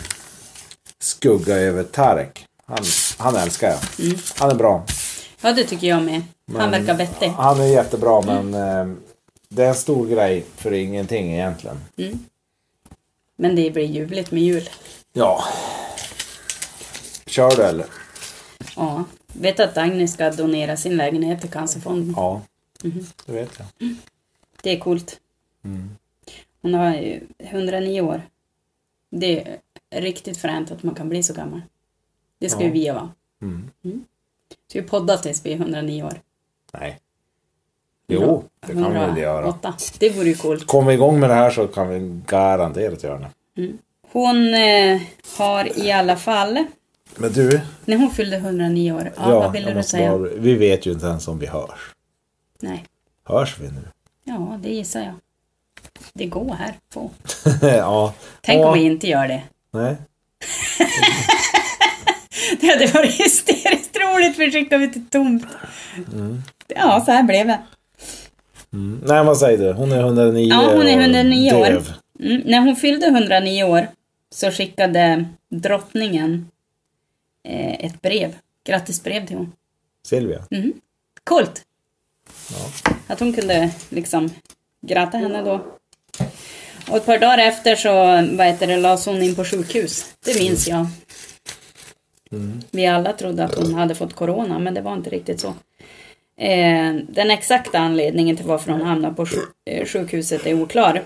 S1: skugga över Tarek. Han, han älskar jag.
S2: Mm.
S1: Han är bra.
S2: ja, det tycker jag med. Han verkar vettig.
S1: Han är jättebra,
S2: Mm.
S1: men eh, det är en stor grej för ingenting egentligen.
S2: Mm. Men det blir ljuvligt med jul.
S1: Ja. Kör du eller?
S2: Ja. Vet du att Agnes ska donera sin lägenhet till Cancerfonden?
S1: Ja.
S2: Mm-hmm.
S1: Det vet jag.
S2: Det är coolt.
S1: Mm.
S2: Hon har ju 109 år. Det är riktigt fränt att man kan bli så gammal. Det ska ju vi vara. Mm. Ska vi podda tills vi är 109 år?
S1: Nej. Jo, det kan vi väl göra.
S2: 108. Det vore ju coolt.
S1: Kom vi igång med det här så kan vi garanterat göra det.
S2: Hon eh, har i alla fall,
S1: Men du,
S2: när hon fyllde 109 år, ja, vad ville
S1: jag
S2: du
S1: måste
S2: säga?
S1: bara- vi vet ju inte ens om vi hörs.
S2: Nej,
S1: Hörs vi nu?
S2: ja det gissar jag. Det går här på.
S1: ja.
S2: Tänk
S1: Ja.
S2: om vi inte gör det.
S1: Nej.
S2: Det hade varit hysteriskt roligt för skickar vi till tomt.
S1: Mm.
S2: Ja, så här blev det.
S1: Nej, vad säger du? Hon är 109
S2: Ja, hon är
S1: och
S2: 109 år.
S1: döv.
S2: Mm, när hon fyllde 109 år så skickade drottningen eh, ett brev. Grattisbrev till hon.
S1: Silvia?
S2: Mm. Coolt! Att hon kunde liksom gratta henne då. Och ett par dagar efter så vad heter det, lades hon in på sjukhus. Det minns jag. Vi alla trodde att hon hade fått corona, men det var inte riktigt så. Eh, den exakta anledningen till varför hon hamnade på sjuk- eh, sjukhuset är oklar.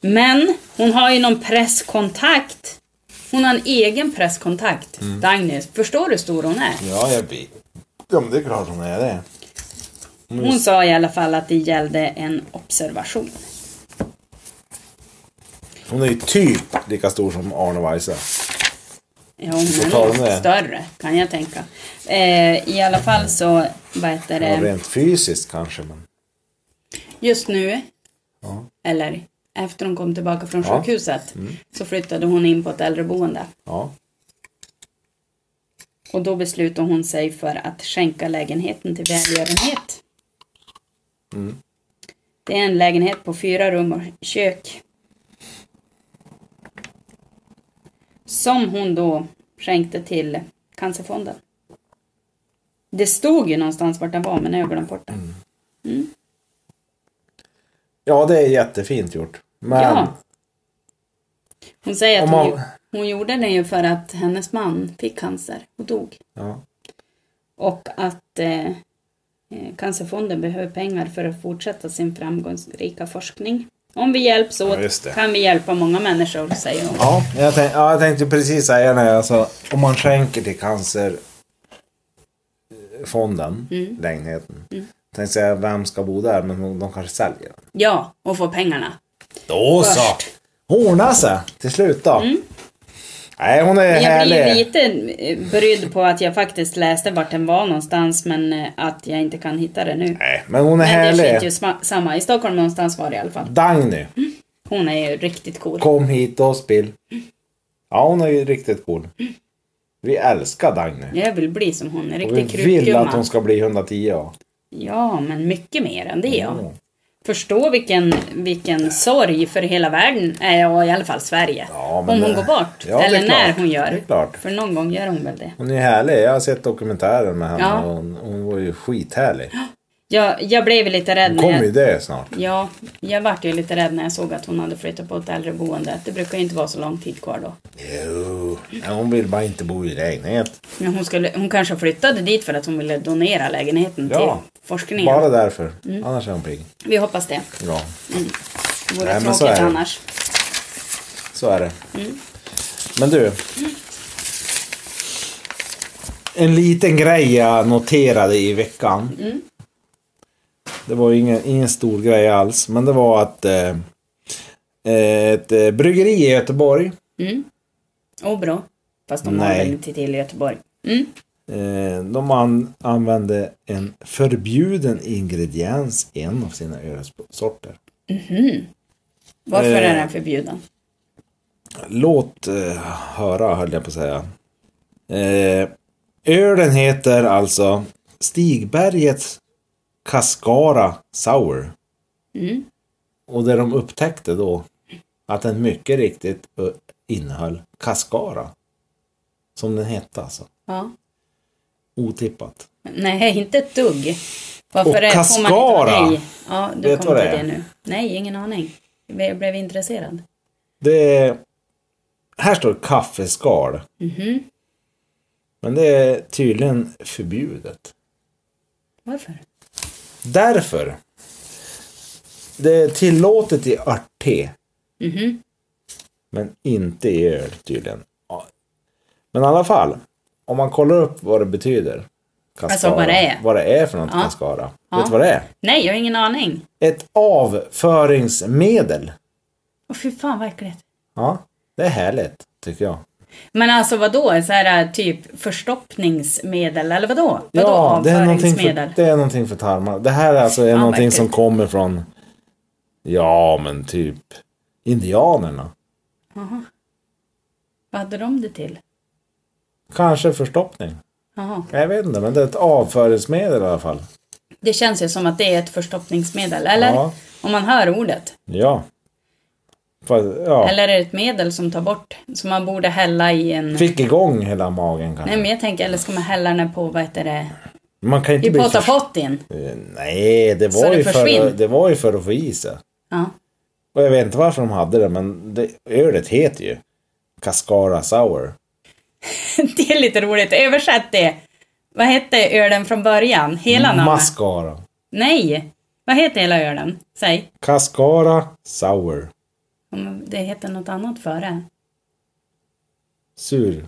S2: Men hon har ju någon presskontakt. Hon har en egen presskontakt, Dagny. Förstår du hur stor hon är?
S1: Ja, jag vet. Ja, men det är klart hon är det. Mm.
S2: Hon sa i alla fall att det gällde en observation.
S1: Hon är ju typ lika stor som Arne Weise.
S2: Ja,
S1: tar
S2: hon
S1: de
S2: är nog
S1: det.
S2: större kan jag tänka. Eh, I alla fall så, vad heter
S1: Ja,
S2: det?
S1: rent fysiskt kanske, men...
S2: just nu,
S1: Ja.
S2: eller efter hon kom tillbaka från
S1: Ja. Mm.
S2: sjukhuset, så flyttade hon in på ett äldreboende.
S1: Ja.
S2: Och då beslutade hon sig för att skänka lägenheten till välgörenhet. Det är en lägenhet på fyra rum och kök. Som hon då skänkte till Cancerfonden. Det stod ju någonstans vart den var, men jag har glömt bort det.
S1: ja, det är jättefint gjort. Men
S2: Ja. Hon säger
S1: Om
S2: att hon,
S1: man-
S2: ju- hon gjorde det ju för att hennes man fick cancer och dog.
S1: Ja.
S2: Och att eh, eh, Cancerfonden behöver pengar för att fortsätta sin framgångsrika forskning. Om vi hjälps
S1: Ja, just det.
S2: åt kan vi hjälpa många människor, säger hon.
S1: Ja, jag tänkte, ja, jag tänkte precis säga det. Alltså, om man skänker till cancerfonden,
S2: Mm.
S1: lägenheten. Tänkte säga, vem ska bo där? Men de, de kanske säljer den.
S2: Ja, och få pengarna.
S1: Då
S2: Först.
S1: så! Ordna sig till slut då. Nej, hon är
S2: Men Jag
S1: härlig.
S2: blir ju lite eh, brydd på att jag faktiskt läste vart den var någonstans, men eh, att jag inte kan hitta det nu.
S1: Nej, men hon är
S2: Men det skiter ju Mm.
S1: härlig.
S2: sma- samma. I Stockholm någonstans var det i alla fall.
S1: Dagny,
S2: Hon är ju riktigt cool.
S1: kom hit och spill.
S2: Mm.
S1: Ja, hon är ju riktigt cool. Vi älskar Dagny.
S2: Jag vill bli som hon, en
S1: Och vi
S2: riktig
S1: vill
S2: krutgumma.
S1: att hon ska bli 110. ja.
S2: Ja, men mycket mer än det ja. Förstå vilken, vilken sorg för hela världen, eh, ja, i alla fall Sverige.
S1: Ja, men
S2: om hon
S1: det-
S2: går bort,
S1: Ja, det är
S2: eller när
S1: klart.
S2: hon gör.
S1: Det är klart.
S2: För någon gång gör hon väl det.
S1: Hon är ju härlig. Jag har sett dokumentären med henne
S2: Ja.
S1: och hon, hon var ju skithärlig.
S2: Jag, jag blev ju lite rädd
S1: Hon
S2: när
S1: kommer ju
S2: jag,
S1: det snart.
S2: ja, jag vart ju lite rädd när jag såg att hon hade flyttat på ett äldreboende. Det brukar ju inte vara så lång tid kvar då.
S1: Jo. Nej, Hon vill bara inte bo i lägenhet.
S2: Men hon, skulle, hon kanske flyttade dit för att hon ville donera lägenheten
S1: Ja.
S2: till forskningen.
S1: Bara därför. Annars är hon pigg.
S2: Vi hoppas det.
S1: Ja,
S2: Det vore
S1: Nej, men så
S2: tråkigt
S1: är det.
S2: annars.
S1: så är det. Men du. En liten grej jag noterade i veckan. Det var ju ingen, ingen stor grej alls. Men det var att eh, ett eh, bryggeri i Göteborg
S2: Åbro. Fast de har
S1: Nej.
S2: väl inte till Göteborg. Mm.
S1: Eh, de an använde en förbjuden ingrediens i en av sina ölsorter.
S2: Varför
S1: Eh.
S2: är den förbjuden?
S1: Låt eh, höra höll jag på att säga. Eh, ölen heter alltså Stigbergets Cascara Sour. Och det de upptäckte då att den mycket riktigt eh, innehöll Cascara. Som den hette alltså.
S2: Ja.
S1: Otippat.
S2: Nej, inte ett dugg. Varför
S1: Och
S2: är- får man inte vara
S1: Cascara.
S2: nej? Ja, du
S1: Vet
S2: kom till
S1: vad
S2: det,
S1: det är?
S2: nu. Nej, ingen aning. Jag blev intresserad.
S1: Det Här står kaffeskal.
S2: Mhm.
S1: Men det är tydligen förbjudet.
S2: Varför?
S1: Därför. Det är tillåtet i örtte.
S2: Mhm.
S1: Men inte i öl tydligen. Ja. Men i alla fall. Om man kollar upp vad det betyder. kaskara,
S2: Alltså, vad det är.
S1: Vad det är för något kaskara. Vet du vad det är?
S2: Nej, jag har ingen aning.
S1: Ett avföringsmedel.
S2: Åh, fy fan vad äckligt.
S1: Ja, det är härligt tycker jag.
S2: Men alltså vad då? Så här äh, typ förstoppningsmedel eller vad då? Vad då
S1: Ja, det är, någonting
S2: avföringsmedel?
S1: för, det är någonting för tarmar. Det här är alltså är
S2: vad
S1: någonting som
S2: äckligt.
S1: kommer från, ja men typ indianerna.
S2: Vad hade de det till?
S1: Kanske förstoppning.
S2: Jaha.
S1: Jag vet inte, men det är ett avföringsmedel i alla fall.
S2: Det känns ju som att det är ett förstoppningsmedel, eller?
S1: Ja.
S2: Om man hör ordet.
S1: Ja. För, ja.
S2: Eller är det ett medel som tar bort, som man borde hälla i en...
S1: Fick igång hela magen kanske.
S2: Nej men jag tänker, eller ska man hälla den på, vad heter det,
S1: man kan ju inte
S2: i
S1: bli för...
S2: potapottin?
S1: Eh, Nej, det
S2: Så
S1: var,
S2: det
S1: ju för,
S2: försvinn.
S1: det var ju för att få i sig.
S2: Ja.
S1: Och jag vet inte varför de hade det, men det, ölet heter ju Cascara Sour.
S2: Det är lite roligt. Översätt det. Vad hette ölen från början? Hela namnet?
S1: Mascara.
S2: Nej! Vad heter hela ölen? Säg.
S1: Cascara Sour.
S2: Ja, men Det heter något annat före.
S1: Sur.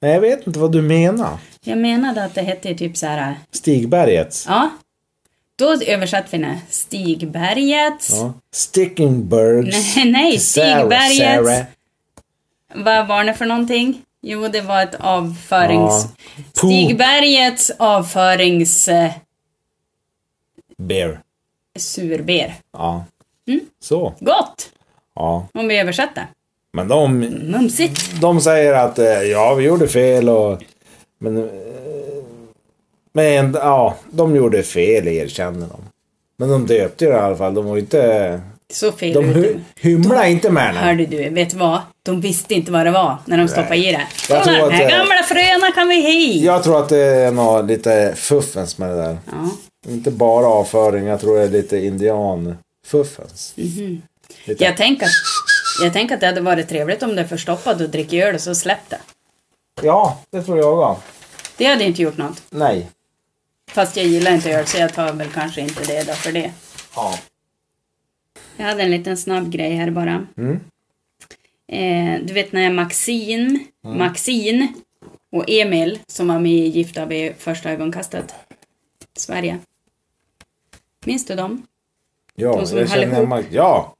S1: Nej, jag vet inte vad du menar.
S2: Jag menade att det hette typ så här.
S1: Stigbergets.
S2: Ja. Då översatte vi det. Stigbergets.
S1: Ja. Stickingbergs.
S2: Nej, nej,
S1: Sarah,
S2: Stigbergets.
S1: Sarah.
S2: Vad var det för någonting? Jo, det var ett avförings...
S1: Ja. Poop
S2: Stigbergets avförings... eh,
S1: beer.
S2: surber.
S1: Ja.
S2: Mm.
S1: Så.
S2: Gott!
S1: Ja.
S2: Om vi översätter.
S1: Men de,
S2: Mumsigt.
S1: de säger att eh, ja, vi gjorde fel och... Men... eh, Men ja, de gjorde fel erkänner de. Men de döpte ju det i alla fall. De var ju inte...
S2: Så fel
S1: De
S2: ut.
S1: hu- humlade inte med den.
S2: Hörde du, vet du vad? De visste inte vad det var när de stoppade i det.
S1: Jag
S2: Kolla,
S1: tror
S2: de
S1: att
S2: här
S1: det-
S2: gamla fröna kan vi hej!
S1: Jag tror att det är något lite fuffens med det där.
S2: Ja.
S1: Inte bara avföring, jag tror det är lite indianfuffens. Lite.
S2: Jag tänker att, jag tänker att det hade varit trevligt om det förstoppade och dricker öl och så släppte.
S1: Ja, det tror jag också.
S2: Det hade inte gjort något.
S1: Nej.
S2: Fast jag gillar inte öl så jag tar väl kanske inte det då för det.
S1: Ja.
S2: Jag hade en liten snabb grej här bara. Eh, du vet när Maxine, Maxine och Emil som var med i Gifta vid första ögonkastet. Sverige. Minns du dem?
S1: Ja,
S2: Hon som
S1: jag
S2: höll
S1: känner
S2: ihop.
S1: Mag- Ja.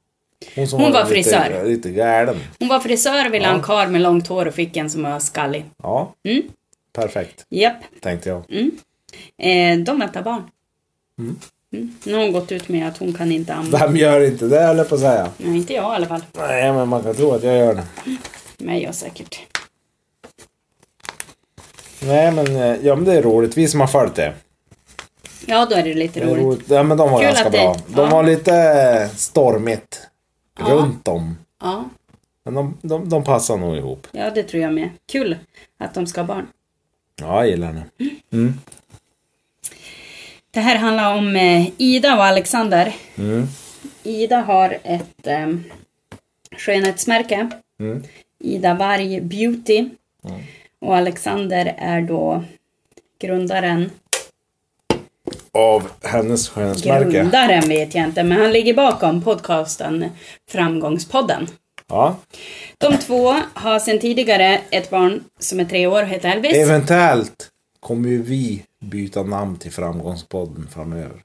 S1: Hon, som
S2: Hon var
S1: lite-
S2: frisör.
S1: Lite galen.
S2: Hon var frisör och ville ha en karl med långt hår och fick en som var skallig.
S1: Ja.
S2: Mm.
S1: Perfekt,
S2: Japp.
S1: tänkte jag.
S2: Eh, de väntar barn. Mm. Nu har hon gått ut med att hon kan inte amma.
S1: Vem gör inte det, höll jag på att säga.
S2: Nej, inte jag i alla fall.
S1: Nej, men man kan tro att jag gör det.
S2: Men jag säkert.
S1: Nej, men, eh, ja, men det är roligt. Vi som har följt det.
S2: Ja, då är det lite
S1: Det är
S2: roligt.
S1: roligt. Ja, men de var
S2: Kul
S1: ganska
S2: att det-
S1: bra. De
S2: ja.
S1: var lite eh, stormigt runt om.
S2: Ja,
S1: Men de, de, de passar nog ihop.
S2: ja, det tror jag med. Kul att de ska ha barn.
S1: Ja, jag gillar det.
S2: Det här handlar om eh, Ida och Alexander. Ida har ett eh, skönhetsmärke. Ida Varg Beauty. Och Alexander är då grundaren.
S1: Av hennes skönhetsmärke.
S2: Grundaren vet jag inte, men han ligger bakom podcasten Framgångspodden.
S1: Ja.
S2: De två har sedan tidigare ett barn som är tre år och heter Elvis.
S1: Eventuellt kommer ju vi byta namn till Framgångspodden framöver.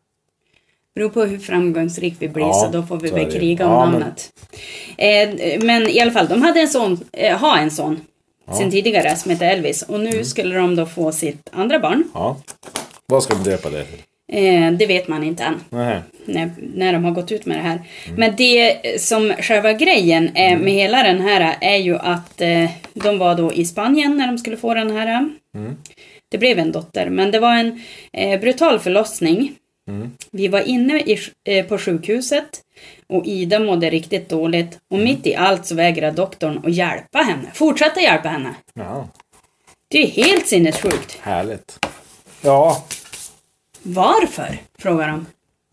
S2: beror på hur framgångsrik vi blir
S1: Ja,
S2: så då får vi
S1: så är
S2: väl
S1: det ju.
S2: kriga om
S1: Ja, men-
S2: namnet. Eh, men i alla fall, de hade en son, eh, ha en son sen tidigare som hette Elvis och
S1: Mm.
S2: nu skulle de då få sitt andra barn.
S1: Ja. Vad ska de döpa det till?
S2: Eh, det vet man inte än
S1: Nej.
S2: när, när de har gått ut med det här. Men det som själva grejen är med hela den här är ju att eh, de var då i Spanien när de skulle få den här. eh. Det blev en dotter, men det var en eh, brutal förlossning. Vi var inne i, sj- eh, på sjukhuset och Ida mådde riktigt dåligt och mitt i allt så vägrade doktorn att hjälpa henne, fortsätta hjälpa henne.
S1: Ja,
S2: Det är ju helt sinnessjukt.
S1: härligt. Ja,
S2: Varför? Frågar de.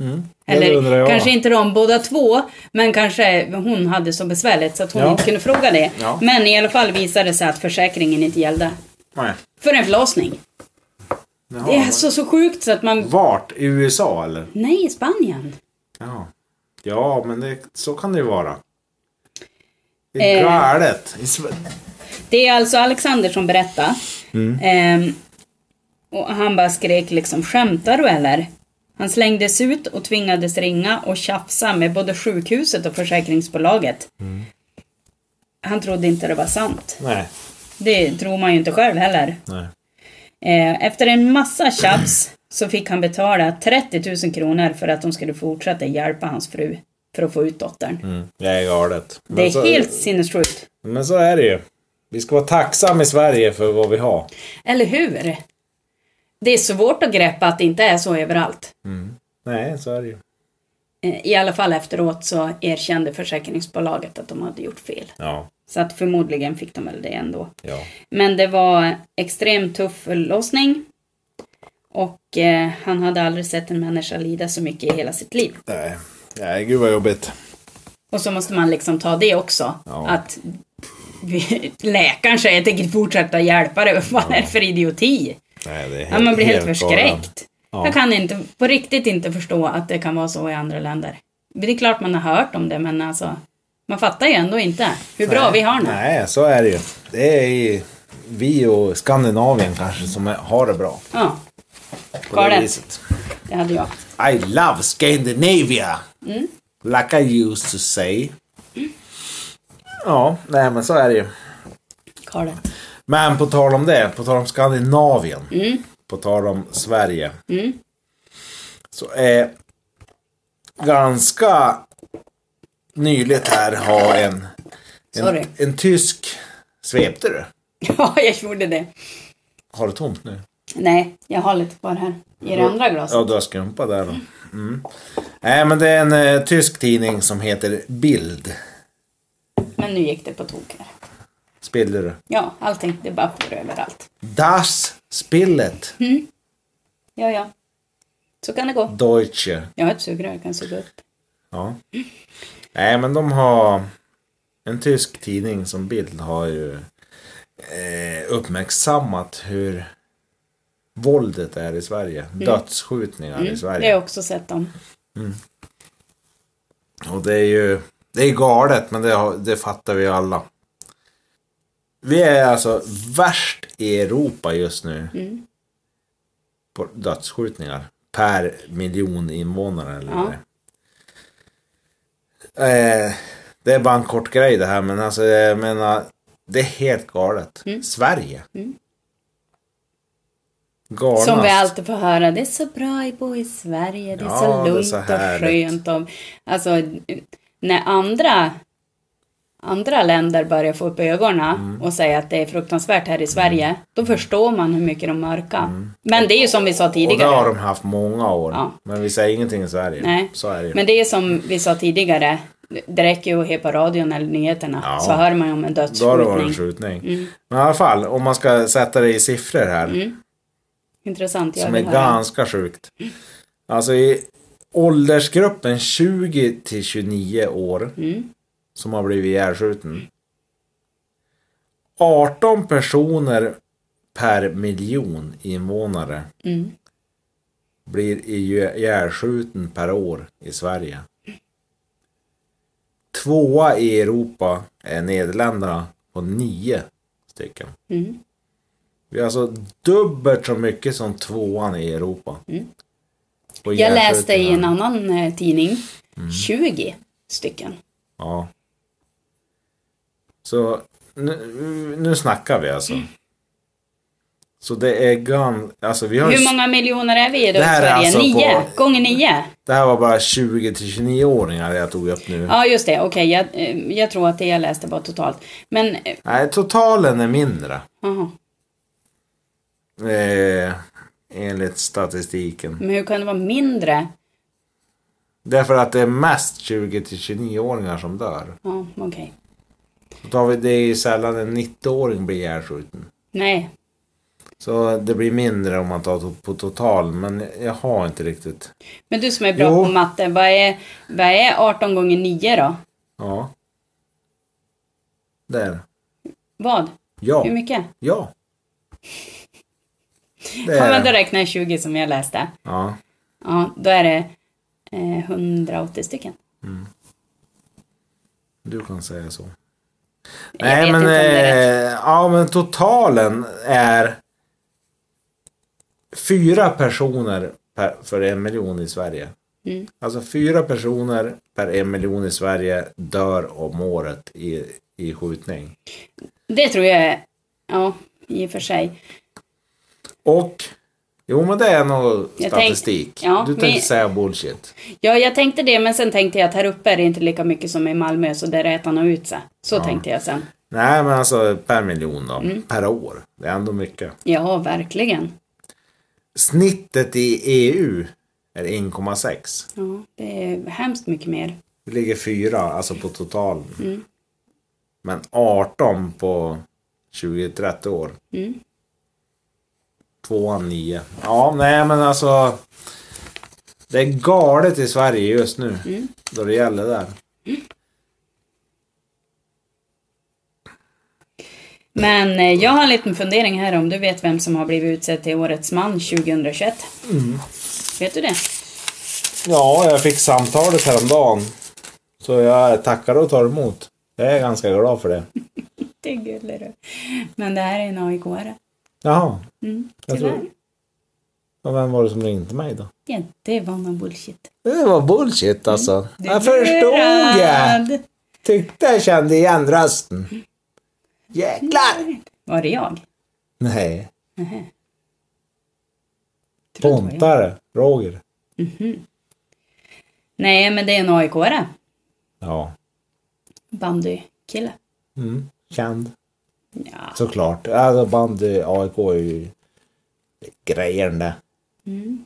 S1: Mm. det undrar
S2: Eller
S1: jag.
S2: kanske inte de båda två, men kanske hon hade så besvärligt så att hon
S1: Ja.
S2: inte kunde fråga det.
S1: Ja.
S2: Men i alla fall visade det sig att försäkringen inte gällde.
S1: Nej.
S2: För en förlossning.
S1: Jaha,
S2: det är alltså så sjukt så att man...
S1: Vart? I USA eller?
S2: Nej, i Spanien.
S1: Ja, ja men det, så kan det ju vara. Det
S2: Eh.
S1: är galet. I Sve-
S2: Det är alltså Alexander som berättar.
S1: Mm.
S2: Ehm, och han bara skrek liksom, skämtar du eller? Han slängdes ut och tvingades ringa och tjafsa med både sjukhuset och försäkringsbolaget.
S1: Mm.
S2: Han trodde inte det var sant.
S1: Nej.
S2: Det tror man ju inte själv heller.
S1: Nej.
S2: Eh, Efter en massa tjafs så fick han betala 30 000 kronor för att de skulle fortsätta hjälpa hans fru för att få ut dottern.
S1: Mm, alltså- det är galet.
S2: Det är
S1: så,
S2: helt sinnessjukt.
S1: men så är det ju. Vi ska vara tacksamma i Sverige för vad vi har.
S2: Eller hur? Det är svårt att greppa att det inte är så överallt.
S1: Nej, så är det ju.
S2: Eh, I alla fall efteråt så erkände försäkringsbolaget att de hade gjort fel.
S1: Ja,
S2: Så att förmodligen fick de väl det ändå.
S1: ja.
S2: Men det var extremt tuff förlossning. Och eh, han hade aldrig sett en människa lida så mycket i hela sitt liv.
S1: Nej, Nej gud vad jobbigt.
S2: Och så måste man liksom ta det också. Att vi- läkaren säger att det kan fortsätta hjälpa dig. Vad fan är det för idioti?
S1: Nej, det är
S2: Ja, man blir helt,
S1: galen.
S2: förskräckt. Jag kan inte, på riktigt inte förstå att det kan vara så i andra länder. Men Det är klart man har hört om det, men alltså. Man fattar ju ändå inte hur bra vi har nu.
S1: Nej, så är det ju. Det är ju vi och Skandinavien kanske som är- har det bra.
S2: Ja,
S1: På
S2: Galet.
S1: det viset.
S2: det hade jag.
S1: I love Scandinavia!
S2: Mm.
S1: Like I used to say. Ja, nej men så är det ju.
S2: Karlet.
S1: Men på tal om det, på tal om Skandinavien. På tal om Sverige. Så är ganska nyligt här ha en, en,
S2: Sorry.
S1: en tysk... Svepte du?
S2: Ja, jag gjorde det.
S1: Har du tomt nu?
S2: Nej, jag har lite kvar här i det andra glaset.
S1: Ja, du har skumpa där då. Mm. Nej, men det är en eh, tysk tidning som heter Bild.
S2: Men nu gick det på tok här.
S1: Spiller du?
S2: Ja, allting. Det bara for överallt.
S1: Das Spillet
S2: Ja, ja. Så kan det gå.
S1: Deutsche.
S2: Jag har ett sugrör, jag kan suga upp.
S1: Ja. Nej, men de har... En tysk tidning som Bild har ju eh, uppmärksammat hur våldet är i Sverige. Dödsskjutningar i
S2: Det har
S1: Sverige.
S2: jag också sett dem.
S1: Och det är ju det är galet, men det, har, det fattar vi alla. Vi är alltså värst i Europa just nu.
S2: Mm.
S1: På dödsskjutningar. Per miljon invånare eller
S2: Ja.
S1: vad det är. eh, Det är bara en kort grej det här, men alltså jag menar, det är helt galet.
S2: Mm.
S1: Sverige. Galnast.
S2: Som vi alltid får höra, det är så bra att bo i Sverige, det är
S1: Ja,
S2: så
S1: det är
S2: lugnt
S1: så
S2: och
S1: härligt.
S2: skönt. Och, alltså, när andra, andra länder börjar få upp ögonen
S1: Mm.
S2: och säga att det är fruktansvärt här i Sverige, då förstår man hur mycket de mörkar. Men det är ju som vi sa
S1: Mm. Och det har
S2: tidigare.
S1: de haft många år.
S2: Ja.
S1: Men vi säger ingenting i Sverige.
S2: Nej.
S1: Så är det ju.
S2: Men det är som vi sa tidigare, det räcker ju att höra på radion eller nyheterna
S1: Ja.
S2: så hör man ju om en
S1: Då har det varit en
S2: dödsskjutning.
S1: skjutning. Men i alla fall, om man ska sätta det i siffror här,
S2: Intressant, jag
S1: som är
S2: vill höra.
S1: ganska sjukt. Alltså i åldersgruppen 20 till 29 år, som har blivit ihjälskjuten. 18 personer per miljon invånare
S2: Mm.
S1: blir ihjälskjuten per år i Sverige. Tvåa i Europa är Nederländerna på nio stycken.
S2: Mm.
S1: Vi har alltså dubbelt så mycket som tvåan i Europa. Och
S2: Mm. Jag läste i en
S1: hjärnskjutningar.
S2: annan eh, tidning,
S1: Mm.
S2: 20 stycken.
S1: Ja. Så nu, nu snackar vi
S2: Mm.
S1: alltså. Så det är gan... Alltså vi har ju
S2: Hur många miljoner är vi då i
S1: Det här är
S2: Sverige?
S1: alltså
S2: nio?
S1: på- Mm.
S2: Gånger nio?
S1: Det här var bara 20 till 29-åringar jag tog upp nu.
S2: Ja, just det. Okej, jag, eh, jag tror att det jag läste var totalt. Men, eh,
S1: Nej, totalen är mindre.
S2: jaha.
S1: Eh, enligt statistiken.
S2: Men hur kan det vara mindre?
S1: Därför att det är mest 20 till 29-åringar som dör.
S2: Ja, okej.
S1: Då tar vi, det är ju sällan en 90-åring blir ihjälskjuten.
S2: Nej,
S1: Så det blir mindre om man tar to- på total, men jag har inte riktigt.
S2: men du som är bra
S1: Jo.
S2: på matte, vad är, vad är 18 gånger nio då?
S1: Ja. Där.
S2: Vad?
S1: Ja.
S2: Hur mycket?
S1: Ja. Det
S2: Ja, men
S1: är
S2: då
S1: det.
S2: räknar jag 20 som jag läste.
S1: Ja.
S2: Ja, då är det eh, 180 stycken.
S1: Du kan säga så.
S2: Jag vet inte om det är
S1: eh, ja, men totalen är fyra personer per, för en miljon i Sverige.
S2: Mm.
S1: Alltså fyra personer per en miljon i Sverige dör om året i, i skjutning.
S2: Det tror jag är, ja, i och för sig.
S1: Och, jo men det är nog
S2: tänk-
S1: statistik.
S2: ja,
S1: du tänkte
S2: men-
S1: säga bullshit.
S2: Ja, jag tänkte det, men sen tänkte jag att här uppe är det inte lika mycket som i Malmö, så där äter han ut sig. Så tänkte jag sen.
S1: Nej men alltså per miljon då,
S2: Mm.
S1: per år. Det är ändå mycket.
S2: Ja, verkligen.
S1: Snittet i EU är 1,6.
S2: Ja, det är hemskt mycket mer.
S1: Vi ligger fyra, alltså på totalen. Men 18 på 20-30 år. Tvåan nio. Ja, nej men alltså. Det är galet i Sverige just nu. Då det gäller där.
S2: Men eh, jag har en liten fundering här om du vet vem som har blivit utsedd till Årets man 2021.
S1: Mm.
S2: Vet du det?
S1: Ja, jag fick samtalet häromdagen. Så jag tackar och tar emot. Jag är ganska glad för det.
S2: Det är gulligt. du. Men det här är en AIK-are.
S1: Jaha. Jag tror-
S2: Tyvärr.
S1: Och vem var det som ringde mig då?
S2: Ja, det var någon bullshit.
S1: Det var bullshit alltså.
S2: Mm.
S1: Jag förstod jag.
S2: Lurad!
S1: Tyckte jag kände igen rösten. Jäklar!
S2: Var det jag? Typ
S1: Nej.
S2: Tror det var jag.
S1: Pontare. Roger.
S2: Nej, men det är en AIK-are.
S1: Ja.
S2: Bandykille.
S1: Mm. Känd.
S2: Ja.
S1: Såklart. Alltså bandy, AIK är ju grejen det.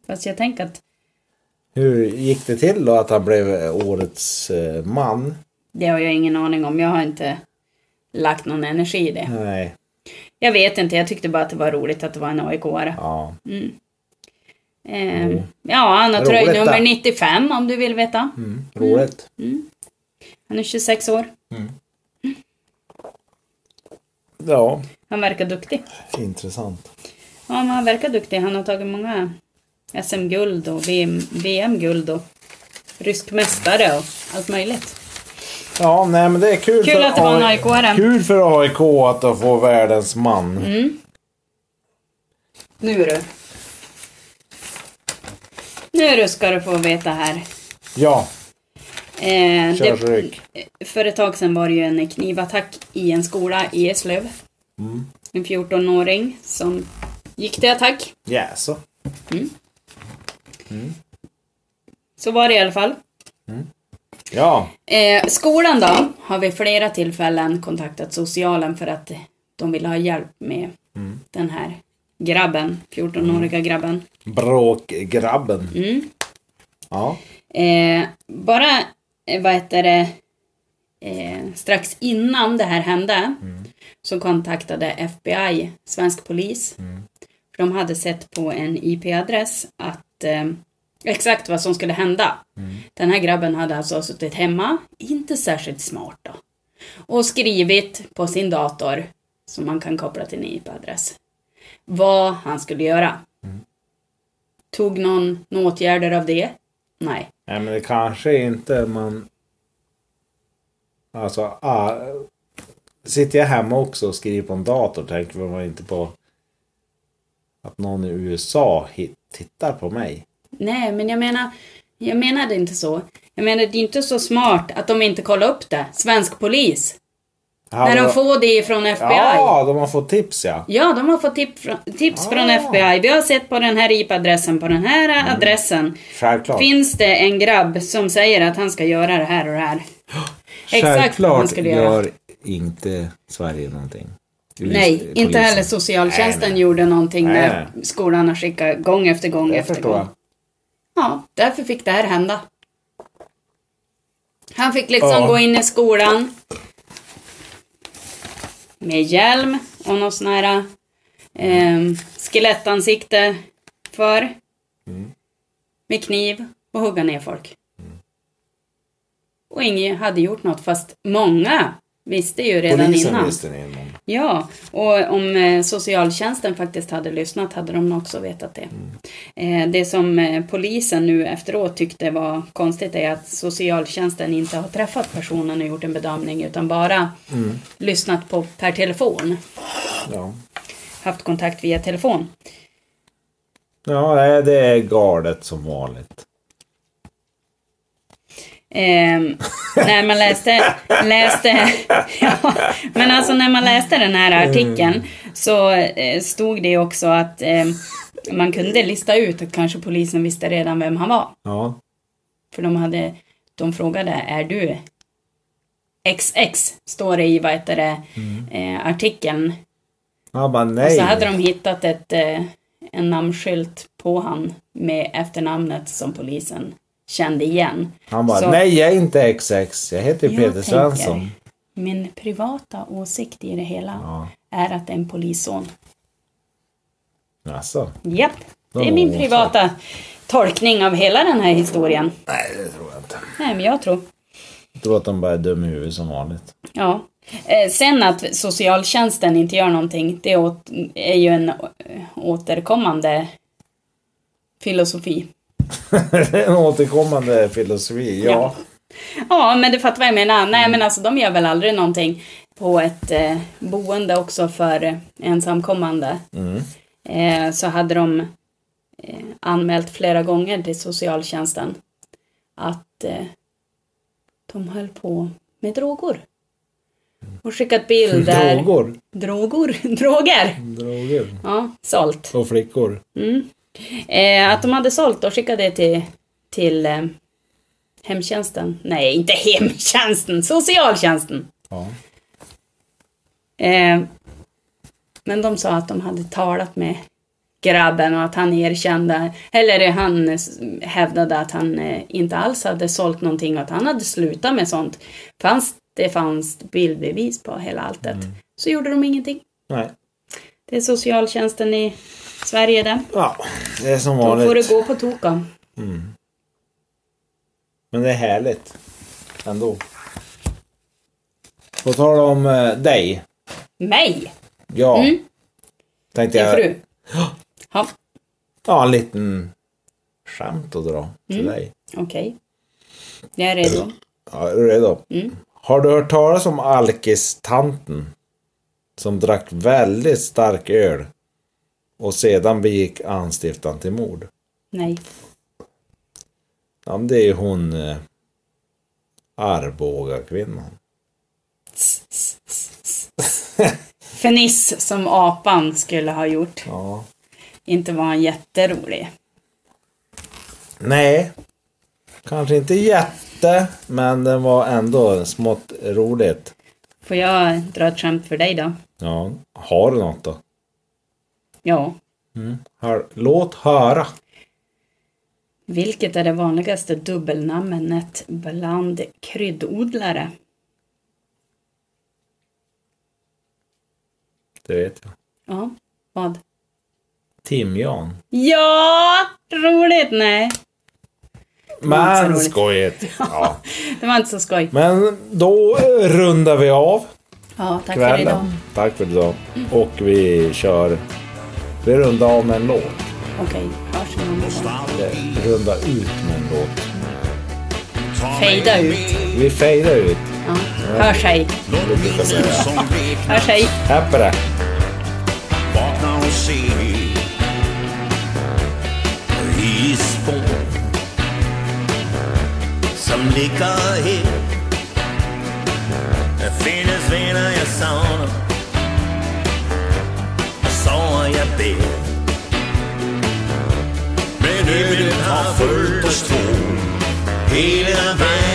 S2: Fast jag tänker att
S1: Hur gick det till då att han blev årets eh, man?
S2: det har jag ingen aning om. Jag har inte lagt någon energi i det.
S1: Nej.
S2: Jag vet inte, jag tyckte bara att det var roligt att det var en AIK-are.
S1: Ja.
S2: Mm. Ehm, ja, han
S1: Mm.
S2: har
S1: Roligt,
S2: tröjnummer
S1: det.
S2: 95 om du vill veta.
S1: Mm. Roligt.
S2: Han är 26 år.
S1: Ja.
S2: Han verkar duktig.
S1: Intressant.
S2: Ja, men han verkar duktig. Han har tagit många SM-guld och VM VM-guld och rysk mästare och allt möjligt.
S1: Ja, nej men det är kul,
S2: Kul
S1: för
S2: att det var en
S1: AIK
S2: AIK-are.
S1: Kul för AIK att de får världens man.
S2: Mm. Nu du. Nu du ska du få veta här.
S1: Ja,
S2: Eh,
S1: kör så ryck.
S2: för ett tag sedan var det ju en knivattack i en skola i Eslöv.
S1: Mm.
S2: En 14-åring som gick till attack.
S1: Jaså?
S2: Så var det i alla fall.
S1: Ja.
S2: Eh, skolan då har vid flera tillfällen kontaktat socialen för att de vill ha hjälp med
S1: Mm.
S2: den här grabben, 14-åriga grabben.
S1: Bråkgrabben.
S2: Mm.
S1: Ja.
S2: Eh, bara, eh, vad heter det, eh, strax innan det här hände så kontaktade FBI svensk polis. För de hade sett på en IP-adress att eh, exakt vad som skulle hända. Den här grabben hade alltså suttit hemma, inte särskilt smart då, och skrivit på sin dator som man kan koppla till en IP-adress vad han skulle göra. Tog någon, någon åtgärder av det? Nej.
S1: Nej, men det kanske inte man... Alltså, ah, sitter jag hemma också och skriver på en dator tänker man inte på att någon i USA hit, tittar på mig.
S2: Nej, men jag menar, jag menade inte så. Jag menar, det är inte så smart att de inte kollar upp det. Svensk polis.
S1: Hallå.
S2: När de får det från FBI. Ja,
S1: Ja, de har fått tips ja.
S2: de har fått tip från, tips från
S1: Ah. Mm.
S2: FBI. Vi har sett på den här IP-adressen, på den här adressen.
S1: Självklart.
S2: Finns det en grabb som säger att han ska göra det här och det här? Exakt vad man
S1: Självklart
S2: skulle göra.
S1: gör inte Sverige någonting.
S2: Nej,
S1: Polis-
S2: inte
S1: polisen.
S2: heller socialtjänsten
S1: Nej, nej.
S2: gjorde någonting
S1: Nej,
S2: när skolan har skickat gång efter gång
S1: Jag
S2: efter
S1: förstår.
S2: gång. Ja, därför fick det här hända. Han fick liksom
S1: Ja.
S2: gå in i skolan med hjälm och någon sån här ehm, skelettansikte för.
S1: Mm.
S2: Med kniv och hugga ner folk. Och ingen hade gjort något fast många visste ju redan
S1: Polisen
S2: innan.
S1: visste ni innan.
S2: Ja, och om eh, socialtjänsten faktiskt hade lyssnat hade de också vetat det. Eh, det som eh, polisen nu efteråt tyckte var konstigt är att socialtjänsten inte har träffat personen och gjort en bedömning utan bara lyssnat på per telefon,
S1: Ja.
S2: haft kontakt via telefon.
S1: Ja, nej, det är galet som vanligt.
S2: Ehm, när man läste, läste ja, men alltså när man läste den här artikeln så eh, stod det också att eh, man kunde lista ut att kanske polisen visste redan vem han var.
S1: Ja.
S2: För de hade, de frågade, är du XX? Står det i, vad heter det, eh, artikeln.
S1: Han bara
S2: Och
S1: nej.
S2: så hade de hittat ett, eh, en namnskylt på han med efternamnet som polisen kände igen.
S1: Han bara
S2: så,
S1: nej, jag är inte XX. Jag heter ju
S2: Jag
S1: Peter Svensson.
S2: tänker, Min privata åsikt i det hela
S1: Ja.
S2: är att det är en polisson.
S1: Alltså.
S2: Japp, det är
S1: Åh,
S2: min
S1: så.
S2: privata tolkning av hela den här historien.
S1: Nej, det tror jag inte.
S2: Nej, men jag tror
S1: Jag tror att de bara är dum i huvudet som vanligt.
S2: Ja. Eh, sen att socialtjänsten inte gör någonting, det är, åt, är ju en å- återkommande filosofi.
S1: Det är en återkommande filosofi, ja. Mm.
S2: Ja. Ja, men du fattar vad jag menar. Nej, men alltså de gör väl aldrig någonting på ett eh, boende också för eh, ensamkommande.
S1: Mm.
S2: Eh, så hade de eh, anmält flera gånger till socialtjänsten att eh, de höll på med droger. Och skickat bilder.
S1: Mm. Droger.
S2: Drogor, droger.
S1: Droger.
S2: Ja, sålt.
S1: Och flickor.
S2: Eh, att de hade sålt och skickat det till, till eh, Hemtjänsten? Nej, inte hemtjänsten. Socialtjänsten.
S1: Ja.
S2: Eh, men de sa att de hade talat med grabben och att han erkände, eller han eh, hävdade att han eh, inte alls hade sålt någonting och att han hade slutat med sånt. Fanns, det fanns bildbevis på hela alltet. Så gjorde de ingenting.
S1: Nej.
S2: Det är socialtjänsten i Sverige det.
S1: Ja, det är som
S2: Då får
S1: vanligt.
S2: det gå på toka.
S1: Men det är härligt. Ändå. På tal om eh, dig.
S2: Mig!
S1: Ja.
S2: Mm.
S1: Tänkte
S2: Det är
S1: jag.
S2: fru. Ja,
S1: Ja, en liten skämt att dra till dig.
S2: okej. Jag är redo.
S1: Ja, är du redo? Har du hört talas om alkistanten? Som drack väldigt stark öl. Och sedan begick anstiftan till mord.
S2: Nej.
S1: Ja, men det är ju hon eh, Arboga kvinnan.
S2: Feniss som apan skulle ha gjort.
S1: Ja.
S2: Inte var han jätterolig.
S1: Nej. Kanske inte jätte, men den var ändå smått roligt.
S2: Får jag dra ett skämt för dig då?
S1: Ja, har du något då?
S2: Ja.
S1: Hör, låt höra.
S2: Vilket är det vanligaste dubbelnamnet bland kryddodlare?
S1: Det vet jag.
S2: Ja, vad?
S1: Timjan.
S2: Ja! Roligt! Nej, inte så
S1: Men
S2: roligt.
S1: skojigt. Ja.
S2: det var inte så skoj.
S1: Men då eh, rundar vi av
S2: Ja, tack för idag.
S1: kvällen. Tack för idag. Och vi kör... Vi rundar av med en låt.
S2: Okej, hörs vi någon gång.
S1: Eller runda ut med en låt.
S2: Fejda ut.
S1: Vi fejdar ut.
S2: Ja. Hörs hej.
S1: Det brukar jag säga.
S5: som vekna
S2: Hörs hej.
S1: Här på det.
S5: vakna och se i spår som ligger här. Det finns vänner jag saknar och sorger jag bär. Men ödet har följt oss två hela vägen